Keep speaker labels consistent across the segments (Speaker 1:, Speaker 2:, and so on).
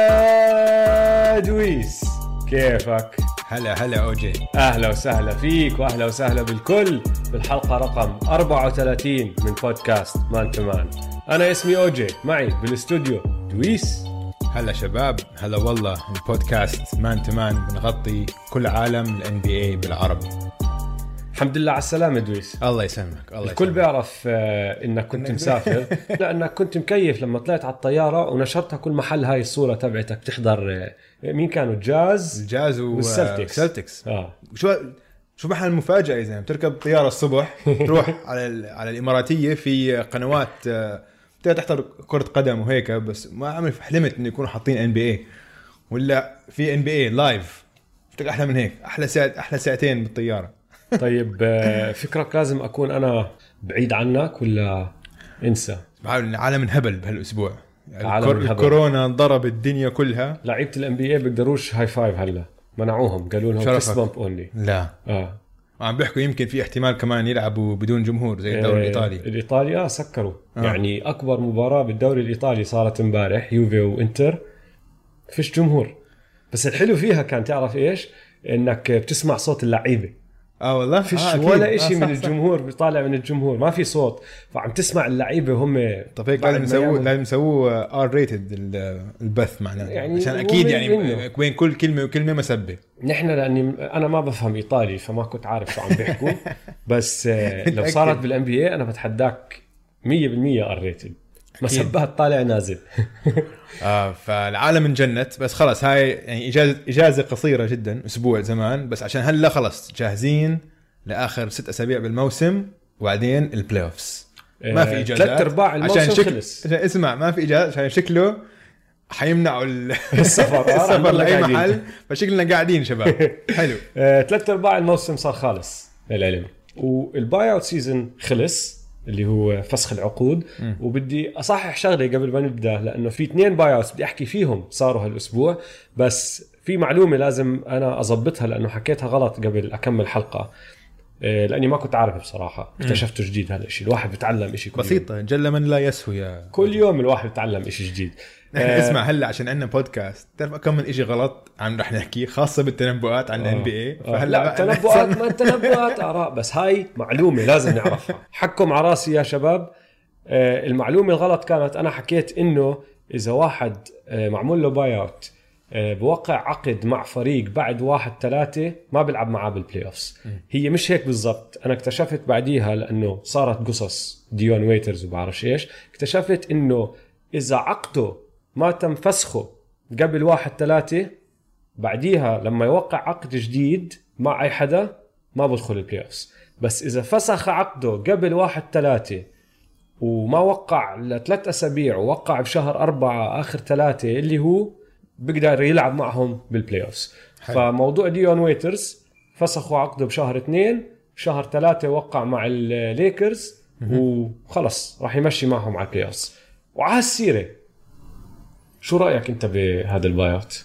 Speaker 1: هلا دويس كيفك؟
Speaker 2: هلا هلا اوجي
Speaker 1: اهلا وسهلا فيك واهلا وسهلا بالكل بالحلقه رقم 34 من بودكاست مان تو مان انا اسمي اوجي معي بالاستوديو دويس
Speaker 2: هلا شباب هلا والله البودكاست مان تو مان بنغطي كل عالم الان بي اي بالعربي
Speaker 1: الحمد لله على السلامه دويس
Speaker 2: الله يسلمك الله
Speaker 1: الكل
Speaker 2: يسلمك.
Speaker 1: بيعرف آه، انك كنت مسافر لانك كنت مكيف لما طلعت على الطياره ونشرتها كل محل هاي الصوره تبعتك بتحضر آه، مين كانوا جاز
Speaker 2: الجاز و...
Speaker 1: والسلتكس.
Speaker 2: والسلتكس.
Speaker 1: اه
Speaker 2: شو شو محل المفاجاه يا زلمه بتركب طياره الصبح تروح على ال... على الاماراتيه في قنوات آه، بتقدر تحضر كره قدم وهيك بس ما عمري حلمت انه يكونوا حاطين ان بي اي ولا في ان بي اي لايف بتلك احلى من هيك احلى ساعه احلى ساعتين بالطياره
Speaker 1: طيب آه، فكرك لازم اكون انا بعيد عنك ولا انسى
Speaker 2: بحاول إن العالم انهبل بهالاسبوع يعني
Speaker 1: العالم
Speaker 2: الكور-
Speaker 1: انهبل.
Speaker 2: الكورونا ضرب الدنيا كلها
Speaker 1: لعيبه الام بي اي بيقدروش هاي فايف هلا منعوهم قالوا لهم
Speaker 2: شرفك.
Speaker 1: فيست بامب اونلي
Speaker 2: لا
Speaker 1: اه
Speaker 2: وعم بيحكوا يمكن في احتمال كمان يلعبوا بدون جمهور زي الدوري
Speaker 1: آه،
Speaker 2: الايطالي
Speaker 1: الايطالي اه سكروا آه.
Speaker 2: آه.
Speaker 1: يعني اكبر مباراه بالدوري الايطالي صارت امبارح يوفي وانتر فيش جمهور بس الحلو فيها كان تعرف ايش انك بتسمع صوت اللعيبه
Speaker 2: اه والله
Speaker 1: فيش
Speaker 2: آه
Speaker 1: آه
Speaker 2: أكيد.
Speaker 1: ولا
Speaker 2: آه،
Speaker 1: شيء
Speaker 2: صح،
Speaker 1: من
Speaker 2: صح.
Speaker 1: الجمهور بيطالع من الجمهور ما في صوت فعم تسمع اللعيبه هم
Speaker 2: طب هيك
Speaker 1: بعد
Speaker 2: لازم
Speaker 1: ما
Speaker 2: يسووا
Speaker 1: يعملوا-
Speaker 2: لازم يسووا ار ريتد البث معناته
Speaker 1: يعني
Speaker 2: يعني عشان
Speaker 1: هو
Speaker 2: اكيد
Speaker 1: من
Speaker 2: يعني
Speaker 1: منه.
Speaker 2: بين كل كلمه وكلمه مسبه
Speaker 1: نحن لاني انا ما بفهم ايطالي فما كنت عارف شو عم بيحكوا بس آه، لو
Speaker 2: متأكد.
Speaker 1: صارت بالان بي اي انا بتحداك 100% ار ريتد مسبات طالع نازل
Speaker 2: آه فالعالم انجنت بس خلص هاي يعني اجازه اجازه قصيره جدا اسبوع زمان بس عشان هلا خلص جاهزين لاخر ست اسابيع بالموسم وبعدين البلاي اوفس ما في اجازات
Speaker 1: ثلاث ارباع آه، الموسم
Speaker 2: عشان شك...
Speaker 1: خلص
Speaker 2: عشان اسمع ما في اجازه عشان شكله حيمنعوا ال...
Speaker 1: السفر آه، رح
Speaker 2: السفر
Speaker 1: نضلنا
Speaker 2: لاي
Speaker 1: قاعدين.
Speaker 2: محل فشكلنا قاعدين شباب حلو
Speaker 1: آه، ثلاث ارباع الموسم صار خالص للعلم والباي اوت سيزون خلص اللي هو فسخ العقود
Speaker 2: مم.
Speaker 1: وبدي اصحح شغله قبل ما نبدا لانه في اثنين باي اوت بدي احكي فيهم صاروا هالاسبوع بس في معلومه لازم انا اظبطها لانه حكيتها غلط قبل اكمل حلقه آه، لاني ما كنت عارف بصراحه اكتشفته جديد هذا الشيء الواحد بتعلم شيء كل يوم.
Speaker 2: بسيطه جل من لا يسهو يا
Speaker 1: كل يوم الواحد بتعلم شيء جديد
Speaker 2: نحن
Speaker 1: آه.
Speaker 2: آه. اسمع هلا عشان عندنا بودكاست تعرف كم من شيء غلط عم رح نحكيه خاصه بالتنبؤات عن الان بي اي
Speaker 1: آه. لا تنبؤات ما تنبؤات اراء بس هاي معلومه لازم نعرفها حكم على راسي يا شباب آه، المعلومه الغلط كانت انا حكيت انه اذا واحد آه، معمول له باي اوت آه، بوقع عقد مع فريق بعد واحد ثلاثة ما بيلعب معاه بالبلاي اوفز هي مش هيك بالضبط انا اكتشفت بعديها لانه صارت قصص ديون ويترز وبعرفش ايش اكتشفت انه اذا عقده ما تم فسخه قبل واحد ثلاثة بعديها لما يوقع عقد جديد مع اي حدا ما بدخل البلاي اوفز بس اذا فسخ عقده قبل واحد ثلاثة وما وقع لثلاث اسابيع ووقع بشهر أربعة اخر ثلاثة اللي هو بيقدر يلعب معهم بالبلاي اوفز
Speaker 2: حلو.
Speaker 1: فموضوع ديون ويترز فسخوا عقده بشهر اثنين شهر ثلاثة وقع مع الليكرز وخلص راح يمشي معهم على البلاي اوفز وعلى السيرة شو رايك انت بهذا الباي اوت؟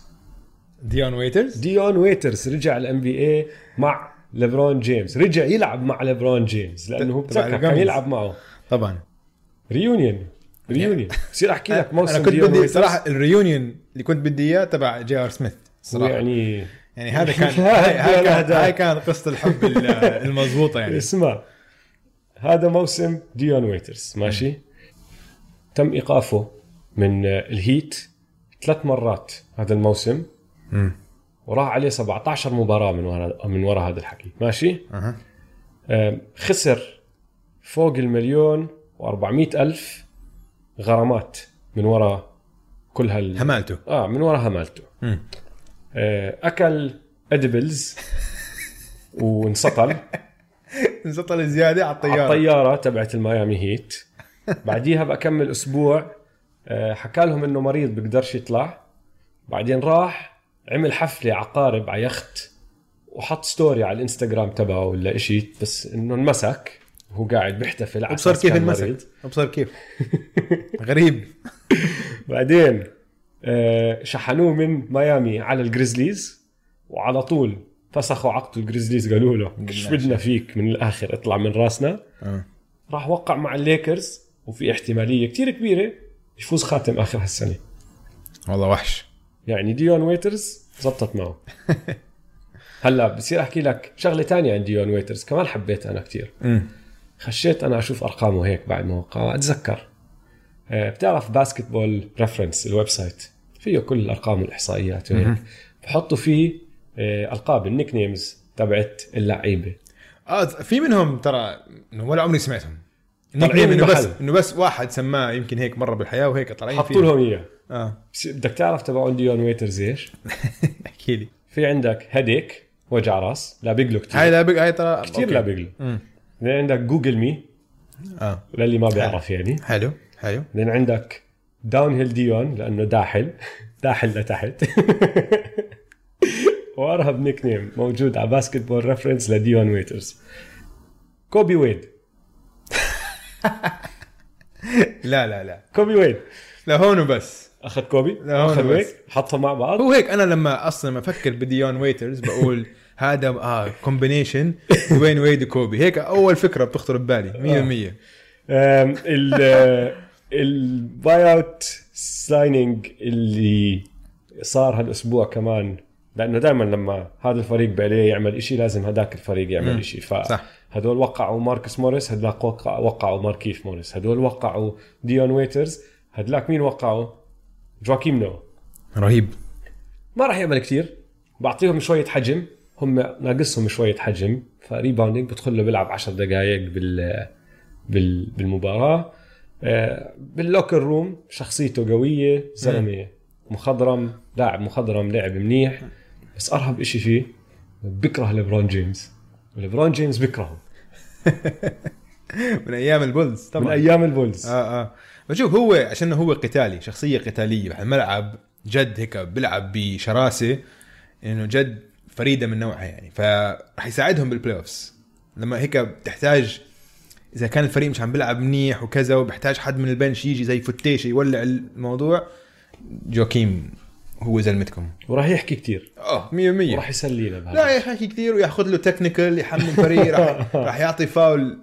Speaker 2: ديون ويترز
Speaker 1: ديون ويترز رجع الام بي اي مع ليبرون جيمس رجع يلعب مع ليبرون جيمس لانه هو
Speaker 2: تبع
Speaker 1: بتذكر كان
Speaker 2: الجامز.
Speaker 1: يلعب معه
Speaker 2: طبعا
Speaker 1: ريونيون ريونيون بصير احكي لك موسم
Speaker 2: انا كنت
Speaker 1: ديون
Speaker 2: بدي
Speaker 1: ويترز
Speaker 2: صراحه الريونيون اللي كنت بدي اياه تبع جي ار سميث صراحه يعني,
Speaker 1: يعني
Speaker 2: يعني هذا كان
Speaker 1: لا،
Speaker 2: هاي, هاي,
Speaker 1: لا،
Speaker 2: كان
Speaker 1: لا.
Speaker 2: هاي كان قصه الحب ال- المضبوطه يعني
Speaker 1: اسمع هذا موسم ديون ويترز ماشي تم ايقافه من آه، الهيت ثلاث مرات هذا الموسم
Speaker 2: مم.
Speaker 1: وراح عليه 17 مباراه من ورا من ورا هذا الحكي ماشي
Speaker 2: أها.
Speaker 1: آم، خسر فوق المليون و400 ألف غرامات من وراء كل هال
Speaker 2: همالته
Speaker 1: اه من وراء همالته
Speaker 2: مم.
Speaker 1: آه، اكل ادبلز وانسطل
Speaker 2: انسطل زياده على
Speaker 1: على
Speaker 2: الطياره
Speaker 1: الطياره تبعت الميامي هيت بعديها بكمل اسبوع آه، حكى لهم انه مريض بيقدرش يطلع بعدين راح عمل حفله عقارب على يخت وحط ستوري على الانستغرام تبعه ولا إشي بس انه انمسك وهو قاعد بيحتفل على
Speaker 2: ابصر
Speaker 1: أساس
Speaker 2: كيف
Speaker 1: كان مريض.
Speaker 2: انمسك ابصر طيب، كيف غريب
Speaker 1: بعدين آه، شحنوه من ميامي على الجريزليز وعلى طول فسخوا عقد الجريزليز قالوا له ايش بدنا فيك من الاخر اطلع من راسنا
Speaker 2: آه.
Speaker 1: راح وقع مع الليكرز وفي احتماليه كتير كبيره يفوز خاتم اخر هالسنه
Speaker 2: والله وحش
Speaker 1: يعني ديون ويترز زبطت معه هلا بصير احكي لك شغله تانية عن ديون ويترز كمان حبيتها انا كثير
Speaker 2: امم
Speaker 1: خشيت انا اشوف ارقامه هيك بعد ما وقع اتذكر آه، بتعرف باسكتبول ريفرنس الويب سايت فيه كل الارقام والاحصائيات وهيك بحطوا فيه آه، القاب النيك نيمز تبعت اللعيبه
Speaker 2: اه في منهم ترى إنه ولا عمري سمعتهم
Speaker 1: طالعين
Speaker 2: طالعين انه بس
Speaker 1: بحل.
Speaker 2: انه بس واحد سماه يمكن هيك مره بالحياه وهيك طالعين
Speaker 1: حطوا لهم اياه
Speaker 2: اه
Speaker 1: بس بدك تعرف تبعون ديون ويترز ايش؟
Speaker 2: احكي لي
Speaker 1: في عندك هيديك وجع راس لا بيقلو
Speaker 2: هاي
Speaker 1: كثير
Speaker 2: لا بق... هاي ترى
Speaker 1: كثير
Speaker 2: أوكي.
Speaker 1: لا بيقلو
Speaker 2: أمم.
Speaker 1: بعدين عندك جوجل مي
Speaker 2: اه
Speaker 1: للي ما بيعرف يعني
Speaker 2: حلو حلو
Speaker 1: بعدين عندك داون هيل ديون لانه داحل داحل لتحت وارهب نيك نيم موجود على باسكتبول ريفرنس لديون ويترز كوبي ويد
Speaker 2: لا لا لا
Speaker 1: كوبي ويد
Speaker 2: لا هون بس
Speaker 1: اخذ كوبي
Speaker 2: لا، هون
Speaker 1: اخذ
Speaker 2: بس.
Speaker 1: هيك حطهم مع بعض
Speaker 2: هو هيك انا لما اصلا ما افكر بديون ويترز بقول هذا اه كومبينيشن وين ويد وكوبي هيك اول فكره بتخطر ببالي 100%
Speaker 1: أم، ال آه، الباي اوت سايننج اللي صار هالاسبوع كمان لانه دائما لما هذا الفريق بعليه يعمل إشي لازم هذاك الفريق
Speaker 2: مم.
Speaker 1: يعمل إشي
Speaker 2: صح.
Speaker 1: فهدول وقعوا ماركس موريس هدلاك وقع وقعوا ماركيف موريس هدول وقعوا ديون ويترز هدلاك مين وقعوا جواكيم نو
Speaker 2: رهيب
Speaker 1: ما راح يعمل كتير بعطيهم شويه حجم هم ناقصهم شويه حجم فريباوندينج بدخل له بيلعب 10 دقائق بال بال بالمباراه آه، باللوكر روم شخصيته قويه زلمه مخضرم لاعب مخضرم لعب منيح بس ارهب إشي فيه بكره ليبرون جيمس ليبرون جيمس بكرهه
Speaker 2: من ايام البولز
Speaker 1: من
Speaker 2: طبعا
Speaker 1: ايام البولز
Speaker 2: اه اه بشوف هو عشان هو قتالي شخصيه قتاليه على الملعب جد هيك بيلعب بشراسه انه جد فريده من نوعها يعني فرح يساعدهم بالبلاي اوفس لما هيك بتحتاج اذا كان الفريق مش عم بيلعب منيح وكذا وبحتاج حد من البنش يجي زي فتيش يولع الموضوع جوكيم هو زلمتكم
Speaker 1: وراح يحكي كتير
Speaker 2: اه 100%
Speaker 1: وراح يسلينا بهذا
Speaker 2: لا يحكي كثير وياخذ له تكنيكال يحمل الفريق راح راح يعطي فاول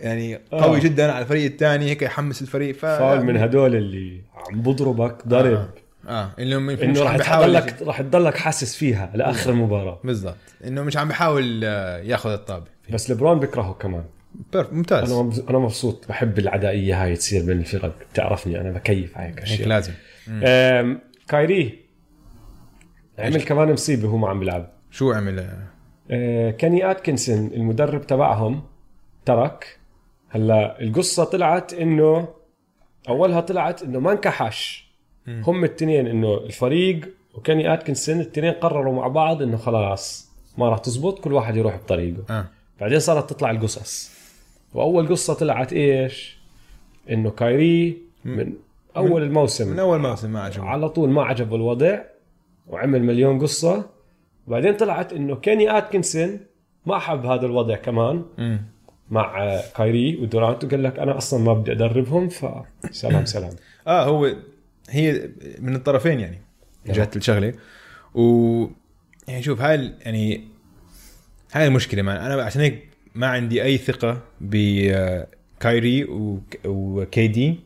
Speaker 2: يعني قوي
Speaker 1: آه.
Speaker 2: جدا على الفريق الثاني هيك يحمس الفريق ف
Speaker 1: فاول من هدول اللي عم بضربك ضرب
Speaker 2: آه. اه انه مش
Speaker 1: انه راح
Speaker 2: عم بيحاول يجي-
Speaker 1: تضلك راح تضلك حاسس فيها لاخر المباراه
Speaker 2: بالضبط انه مش عم بيحاول آه، ياخذ الطابه
Speaker 1: بس لبرون بكرهه كمان
Speaker 2: بيرف ممتاز
Speaker 1: انا مبز- انا مبسوط بحب العدائيه هاي تصير بين الفرق بتعرفني انا بكيف على هيك
Speaker 2: هيك
Speaker 1: اشياء
Speaker 2: لازم
Speaker 1: آه. أم، كايري عمل كمان مصيبه وهو ما عم بيلعب
Speaker 2: شو عمل آه،
Speaker 1: أه، كيني اتكنسون المدرب تبعهم ترك هلا القصه طلعت انه اولها طلعت انه ما انكحش
Speaker 2: مم.
Speaker 1: هم التنين انه الفريق وكيني اتكنسون التنين قرروا مع بعض انه خلاص ما راح تزبط كل واحد يروح بطريقه
Speaker 2: اه
Speaker 1: بعدين صارت تطلع القصص واول قصه طلعت ايش انه كايري من اول الموسم
Speaker 2: من اول موسم ما عجبه
Speaker 1: على طول ما عجبه الوضع وعمل مليون قصه وبعدين طلعت انه كيني اتكنسون ما حب هذا الوضع كمان
Speaker 2: مم.
Speaker 1: مع آه، كايري ودورانت وقال لك انا اصلا ما بدي ادربهم فسلام سلام
Speaker 2: اه هو هي من الطرفين يعني جات الشغله و يعني شوف هاي ال- يعني هاي المشكله مان انا عشان هيك ما عندي اي ثقه آه، بكايري وكي دي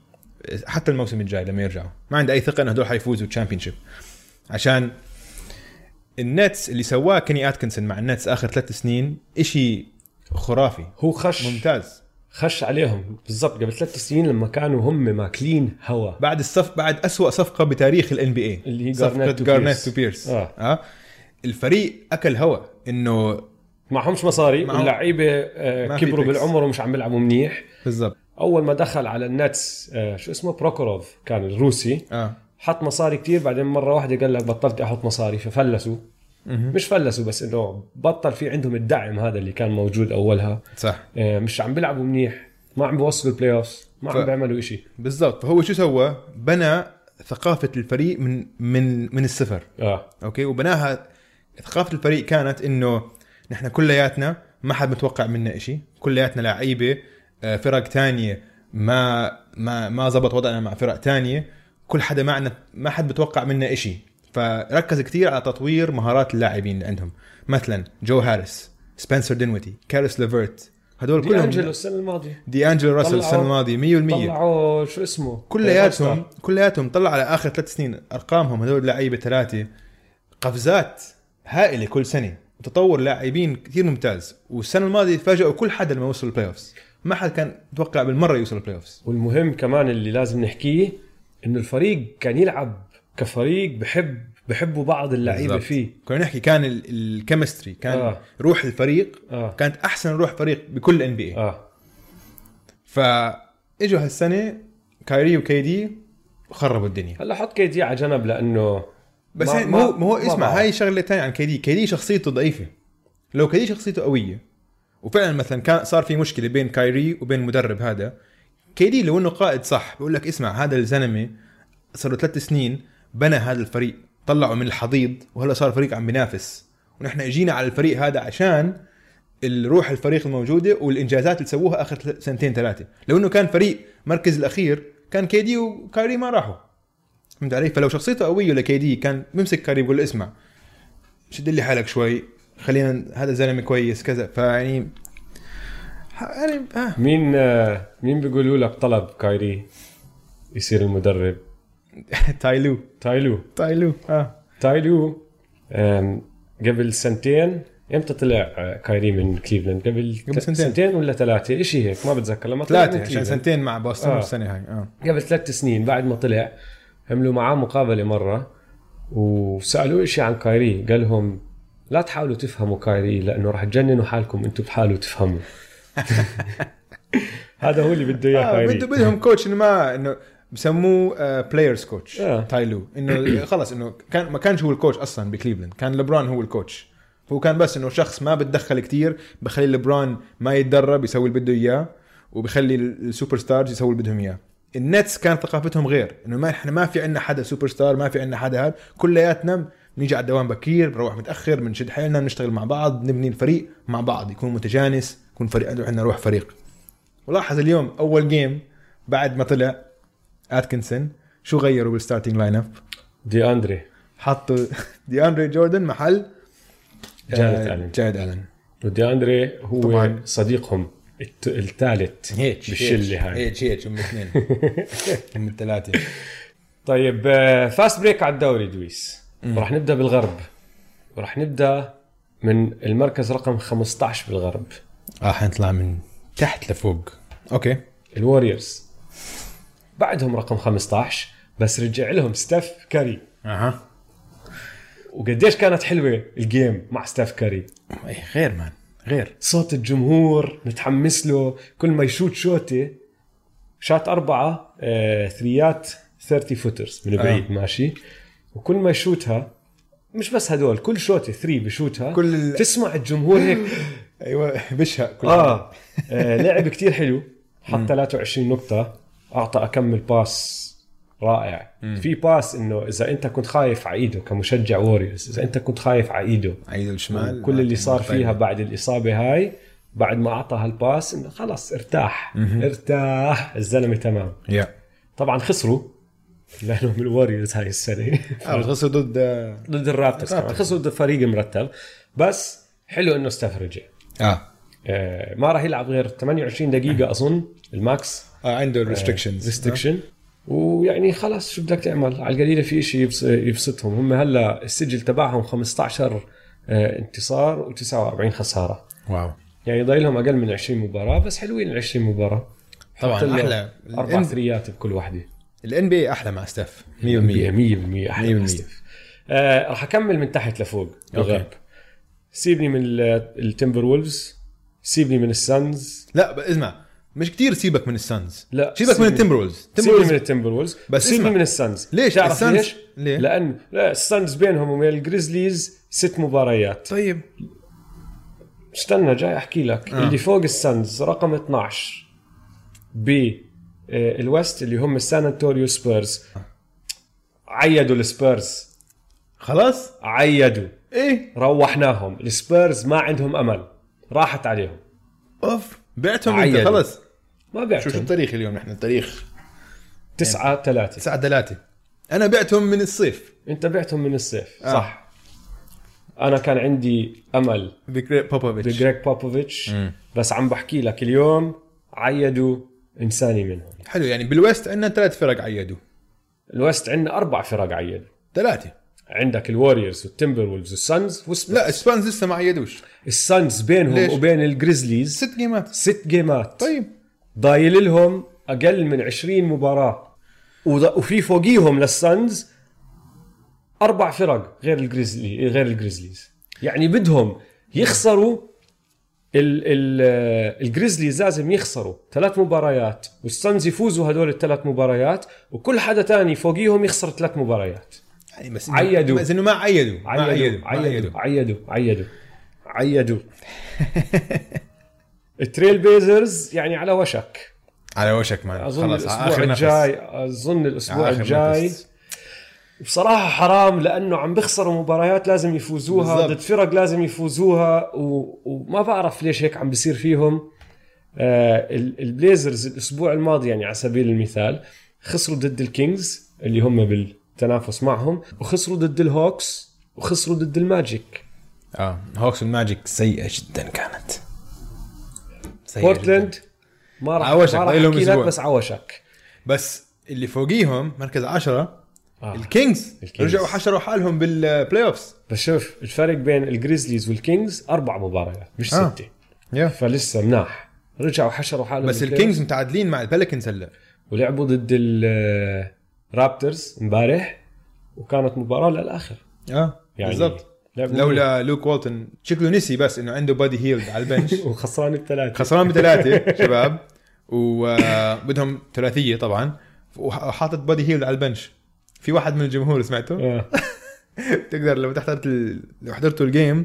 Speaker 2: حتى الموسم الجاي لما يرجعوا ما عندي اي ثقه ان هدول حيفوزوا تشامبيون عشان النتس اللي سواه كيني اتكنسون مع النتس اخر ثلاث سنين إشي خرافي
Speaker 1: هو خش
Speaker 2: ممتاز
Speaker 1: خش عليهم بالضبط قبل ثلاث سنين لما كانوا هم ماكلين هوا
Speaker 2: بعد الصف بعد أسوأ صفقه بتاريخ الان بي اي
Speaker 1: اللي هي Garnett to Pierce.
Speaker 2: جارنيت تو بيرس
Speaker 1: آه.
Speaker 2: اه الفريق اكل هوا انه
Speaker 1: معهمش مصاري
Speaker 2: معهم-
Speaker 1: واللعيبه
Speaker 2: ما
Speaker 1: آه،
Speaker 2: في
Speaker 1: كبروا
Speaker 2: picks.
Speaker 1: بالعمر ومش عم بيلعبوا منيح
Speaker 2: بالضبط
Speaker 1: اول ما دخل على النتس آه، شو اسمه بروكوروف كان الروسي
Speaker 2: اه
Speaker 1: حط مصاري كتير بعدين مره واحده قال لك بطلت احط مصاري ففلسوا
Speaker 2: مهم.
Speaker 1: مش فلسوا بس انه بطل في عندهم الدعم هذا اللي كان موجود اولها
Speaker 2: صح
Speaker 1: آه، مش عم بيلعبوا منيح ما عم بيوصلوا البلاي اوف ما
Speaker 2: ف-
Speaker 1: عم بيعملوا شيء
Speaker 2: بالضبط فهو شو سوى بنى ثقافه الفريق من من من الصفر
Speaker 1: اه
Speaker 2: اوكي وبناها ثقافه الفريق كانت انه نحن كلياتنا ما حد متوقع منا شيء كلياتنا لعيبه آه، فرق تانية ما ما ما زبط وضعنا مع فرق تانية كل حدا معنا ما حد متوقع منا شيء فركز كثير على تطوير مهارات اللاعبين اللي عندهم مثلا جو هاريس سبنسر دينويتي كاريس ليفرت هدول
Speaker 1: دي
Speaker 2: كلهم
Speaker 1: انجلو السنه الماضيه
Speaker 2: دي انجلو راسل
Speaker 1: طلعوا-
Speaker 2: السنه الماضيه 100%
Speaker 1: طلعوا شو اسمه آه،
Speaker 2: كلياتهم كلياتهم طلع على اخر ثلاث سنين ارقامهم هدول اللعيبه ثلاثه قفزات هائله كل سنه وتطور لاعبين كثير ممتاز والسنه الماضيه فاجئوا كل حدا لما وصلوا البلاي اوفز ما حد كان يتوقع بالمره يوصل البلاي اوفز
Speaker 1: والمهم كمان اللي لازم نحكيه انه الفريق كان يلعب كفريق بحب بحبوا بعض اللعيبه
Speaker 2: بالضبط.
Speaker 1: فيه
Speaker 2: كنا نحكي كان ال- الكيمستري كان
Speaker 1: آه.
Speaker 2: آه. روح الفريق
Speaker 1: اه
Speaker 2: كانت احسن روح فريق بكل ان بي اي
Speaker 1: اه
Speaker 2: فاجوا هالسنه كايري وكي دي خربوا الدنيا
Speaker 1: هلا حط كي دي على جنب لانه
Speaker 2: بس
Speaker 1: ما-
Speaker 2: ما هو
Speaker 1: ما-
Speaker 2: ما هو
Speaker 1: ما
Speaker 2: اسمع
Speaker 1: بعرف.
Speaker 2: هاي شغله ثانيه عن كيدي كيدي شخصيته ضعيفه لو كيدي شخصيته قويه وفعلا مثلا كان صار في مشكله بين كايري وبين المدرب هذا كيدي لو انه قائد صح بقول لك اسمع هذا الزلمه صار له ثلاث سنين بنى هذا الفريق طلعه من الحضيض وهلا صار فريق عم بينافس ونحن اجينا على الفريق هذا عشان الروح الفريق الموجوده والانجازات اللي سووها اخر ثل- سنتين ثلاثه لو انه كان فريق مركز الاخير كان كيدي وكايري ما راحوا فهمت علي؟ فلو شخصيته قويه لكيدي كان بيمسك كاري بيقول له اسمع شد لي حالك شوي خلينا هذا الزلمه كويس كذا فيعني ح- يعني آه.
Speaker 1: مين آه، مين بيقولوا لك طلب كايري يصير المدرب
Speaker 2: تايلو
Speaker 1: تايلو
Speaker 2: تايلو اه
Speaker 1: تايلو آم، قبل سنتين امتى طلع آه، كايري من كليفلاند قبل,
Speaker 2: قبل
Speaker 1: ت-
Speaker 2: سنتين.
Speaker 1: سنتين ولا ثلاثه شيء هيك ما بتذكر لما طلع
Speaker 2: ثلاثة
Speaker 1: من
Speaker 2: عشان
Speaker 1: كليفلاند.
Speaker 2: سنتين مع بوسطن
Speaker 1: آه.
Speaker 2: والسنة هاي اه
Speaker 1: قبل ثلاث سنين بعد ما طلع عملوا معاه مقابله مره وسالوه شيء عن كايري قال لهم لا تحاولوا تفهموا كايري لانه راح تجننوا حالكم انتم بحاله تفهموا هذا هو اللي بده اياه
Speaker 2: آه،
Speaker 1: كايري
Speaker 2: بده بدهم كوتش انه ما انه بسموه بلايرز كوتش
Speaker 1: آه.
Speaker 2: تايلو انه خلص انه كان ما كانش هو الكوتش اصلا بكليفلاند كان لبران هو الكوتش هو كان بس انه شخص ما بتدخل كتير بخلي لبران ما يتدرب يسوي اللي بده اياه وبخلي ال- السوبر ستارز يسوي اللي بدهم اياه النتس كان ثقافتهم غير انه ما احنا ما في عندنا حدا سوبر ستار ما في عندنا حدا هذا كلياتنا بنيجي على الدوام بكير بنروح متاخر بنشد حيلنا بنشتغل مع بعض نبني الفريق مع بعض يكون متجانس يكون فريق عندنا روح فريق ولاحظ اليوم اول جيم بعد ما طلع اتكنسون شو غيروا بالستارتنج لاين اب
Speaker 1: دي اندري
Speaker 2: حطوا دي اندري جوردن محل
Speaker 1: جاريت
Speaker 2: آه،
Speaker 1: ألين.
Speaker 2: جاريت الن
Speaker 1: ودي اندري يعني. هو
Speaker 2: طبعاً.
Speaker 1: صديقهم الت- الثالث بالشله هاي
Speaker 2: هيك هيك هم اثنين هم الثلاثه
Speaker 1: طيب فاست بريك على الدوري دويس راح نبدا بالغرب راح نبدا من المركز رقم 15 بالغرب
Speaker 2: اه حنطلع من تحت لفوق اوكي
Speaker 1: الوريورز بعدهم رقم 15 بس رجع لهم ستاف كاري
Speaker 2: اها
Speaker 1: وقديش كانت حلوه الجيم مع ستاف كاري
Speaker 2: أي إيه، غير مان غير
Speaker 1: صوت الجمهور متحمس له كل ما يشوت شوته شات أربعة آه، ثريات 30 فوترز من بعيد ماشي وكل ما يشوتها مش بس هدول كل شوتة ثري بشوتها
Speaker 2: كل ال-
Speaker 1: تسمع الجمهور هيك
Speaker 2: ايوه بشهق كل
Speaker 1: آه. اه لعب كتير حلو حط 23 نقطة أعطى أكمل باس رائع في باس انه اذا انت كنت خايف على ايده كمشجع ووريوز اذا انت كنت خايف على ايده
Speaker 2: عيد الشمال
Speaker 1: كل اللي صار فيها بعد الإصابة هاي بعد ما أعطى هالباس إنه خلص ارتاح ارتاح الزلمة تمام
Speaker 2: يا
Speaker 1: طبعا خسروا لأنهم الوريوز هاي السنة
Speaker 2: الغصه آه، ضد اه
Speaker 1: ضد الرابترز طبعاً. خسروا ضد فريق مرتب بس حلو إنه استف رجع
Speaker 2: اه
Speaker 1: آه، ما راح يلعب غير 28 دقيقة أظن الماكس
Speaker 2: آه، عنده الريستريكشنز
Speaker 1: ريستكشن ويعني خلاص شو بدك تعمل على القليله في شيء يبسطهم هم هلا السجل تبعهم 15 آه، انتصار و49 خساره
Speaker 2: واو
Speaker 1: يعني ضايل لهم اقل من 20 مباراه بس حلوين ال 20 مباراه
Speaker 2: طبعاً،
Speaker 1: حط له
Speaker 2: أحلى.
Speaker 1: اربع
Speaker 2: ال-
Speaker 1: ثريات بكل وحده
Speaker 2: الان بي احلى مع ستاف 100%
Speaker 1: 100% 100% احلى
Speaker 2: 100%.
Speaker 1: بلاستيك. آه راح اكمل من تحت لفوق بالغرب سيبني من ال- التمبر وولفز سيبني من السانز
Speaker 2: لا ب- اسمع مش كتير سيبك من السانز
Speaker 1: لا،
Speaker 2: سيبك
Speaker 1: سيبني-
Speaker 2: من التمبرولز
Speaker 1: سيبني من
Speaker 2: التمبرولز
Speaker 1: التمبر وولفز
Speaker 2: بس
Speaker 1: سيبني
Speaker 2: اسمع.
Speaker 1: من السانز
Speaker 2: ليش؟
Speaker 1: تعرف
Speaker 2: السانز-
Speaker 1: ليش؟
Speaker 2: ليه؟
Speaker 1: لان لا السانز بينهم وبين الجريزليز ست مباريات
Speaker 2: طيب
Speaker 1: استنى جاي احكي لك آه. اللي فوق السانز رقم 12 ب آه، الوست اللي هم السان انطوريو سبيرز عيدوا السبيرز
Speaker 2: خلاص
Speaker 1: عيدوا
Speaker 2: ايه
Speaker 1: روحناهم السبيرز ما عندهم امل راحت عليهم
Speaker 2: اوف بعتهم انت
Speaker 1: عيدوا.
Speaker 2: خلاص
Speaker 1: ما
Speaker 2: شو شو
Speaker 1: بعتهم
Speaker 2: التاريخ اليوم نحن التاريخ
Speaker 1: تسعة ثلاثة
Speaker 2: 9 3 انا بعتهم من الصيف
Speaker 1: انت بعتهم من الصيف
Speaker 2: آه.
Speaker 1: صح انا كان عندي امل
Speaker 2: بكري- بوبوفيتش
Speaker 1: بجريك بوبوفيتش
Speaker 2: مم.
Speaker 1: بس عم بحكي لك اليوم عيدوا انساني منهم
Speaker 2: حلو يعني بالويست عندنا ثلاث فرق عيدوا
Speaker 1: الويست عندنا اربع فرق عيدوا
Speaker 2: ثلاثه
Speaker 1: عندك الوريورز والتمبر وولفز والسنز والسبيرز
Speaker 2: لا سبانز لسه ما عيدوش
Speaker 1: السنز بينهم
Speaker 2: ليش؟
Speaker 1: ليش؟ وبين الجريزليز
Speaker 2: ست جيمات
Speaker 1: ست جيمات
Speaker 2: طيب
Speaker 1: ضايل لهم اقل من 20 مباراه وض- وفي فوقيهم للسانز اربع فرق غير الجريزلي غير الجريزليز يعني بدهم يخسروا ال ال الجريزليز لازم يخسروا ثلاث مباريات والسانز يفوزوا هدول الثلاث مباريات وكل حدا تاني فوقيهم يخسر ثلاث مباريات
Speaker 2: يعني بس
Speaker 1: عيدوا.
Speaker 2: بس انه ما عيدوا ما عيدوا
Speaker 1: عيدوا
Speaker 2: ما
Speaker 1: عيدوا عيدوا عيدوا عيدوا التريل بيزرز يعني على وشك
Speaker 2: على وشك مان
Speaker 1: اظن
Speaker 2: خلص على
Speaker 1: الاسبوع
Speaker 2: نفس.
Speaker 1: الجاي اظن الاسبوع
Speaker 2: آخر
Speaker 1: الجاي
Speaker 2: نفس.
Speaker 1: بصراحه حرام لانه عم بيخسروا مباريات لازم يفوزوها
Speaker 2: بالضبط.
Speaker 1: ضد فرق لازم يفوزوها و... وما بعرف ليش هيك عم بيصير فيهم آه ال- البليزرز الاسبوع الماضي يعني على سبيل المثال خسروا ضد الكينجز اللي هم بالتنافس معهم وخسروا ضد الهوكس وخسروا ضد الماجيك
Speaker 2: اه هوكس والماجيك سيئه جدا كانت سيئة
Speaker 1: بورتلاند
Speaker 2: جداً.
Speaker 1: ما راح
Speaker 2: عوشك،
Speaker 1: ما راح
Speaker 2: ضايلهم
Speaker 1: احكي لك
Speaker 2: أسبوع.
Speaker 1: بس عوشك
Speaker 2: بس اللي فوقيهم مركز 10
Speaker 1: آه.
Speaker 2: الكينجز
Speaker 1: الكينجز.
Speaker 2: رجعوا حشروا حالهم بالبلاي اوفز
Speaker 1: بس شوف الفرق بين الجريزليز والكينجز اربع مباريات مش
Speaker 2: آه.
Speaker 1: آه. سته فلسه مناح رجعوا حشروا حالهم
Speaker 2: بس
Speaker 1: بالبلاي
Speaker 2: الكينجز متعادلين مع البلكنز هلا
Speaker 1: أوف ولعبوا ضد الرابترز امبارح وكانت مباراه للاخر
Speaker 2: اه
Speaker 1: يعني
Speaker 2: بالضبط
Speaker 1: لعبوا
Speaker 2: لولا لوك والتون شكله نسي بس انه عنده بادي هيلد على البنش
Speaker 1: وخسران الثلاثه
Speaker 2: خسران بثلاثه شباب آه، وبدهم ثلاثيه طبعا وحاطط بادي هيلد على البنش في واحد من الجمهور سمعته
Speaker 1: آه.
Speaker 2: تقدر لو تحضرت ال... لو حضرتوا الجيم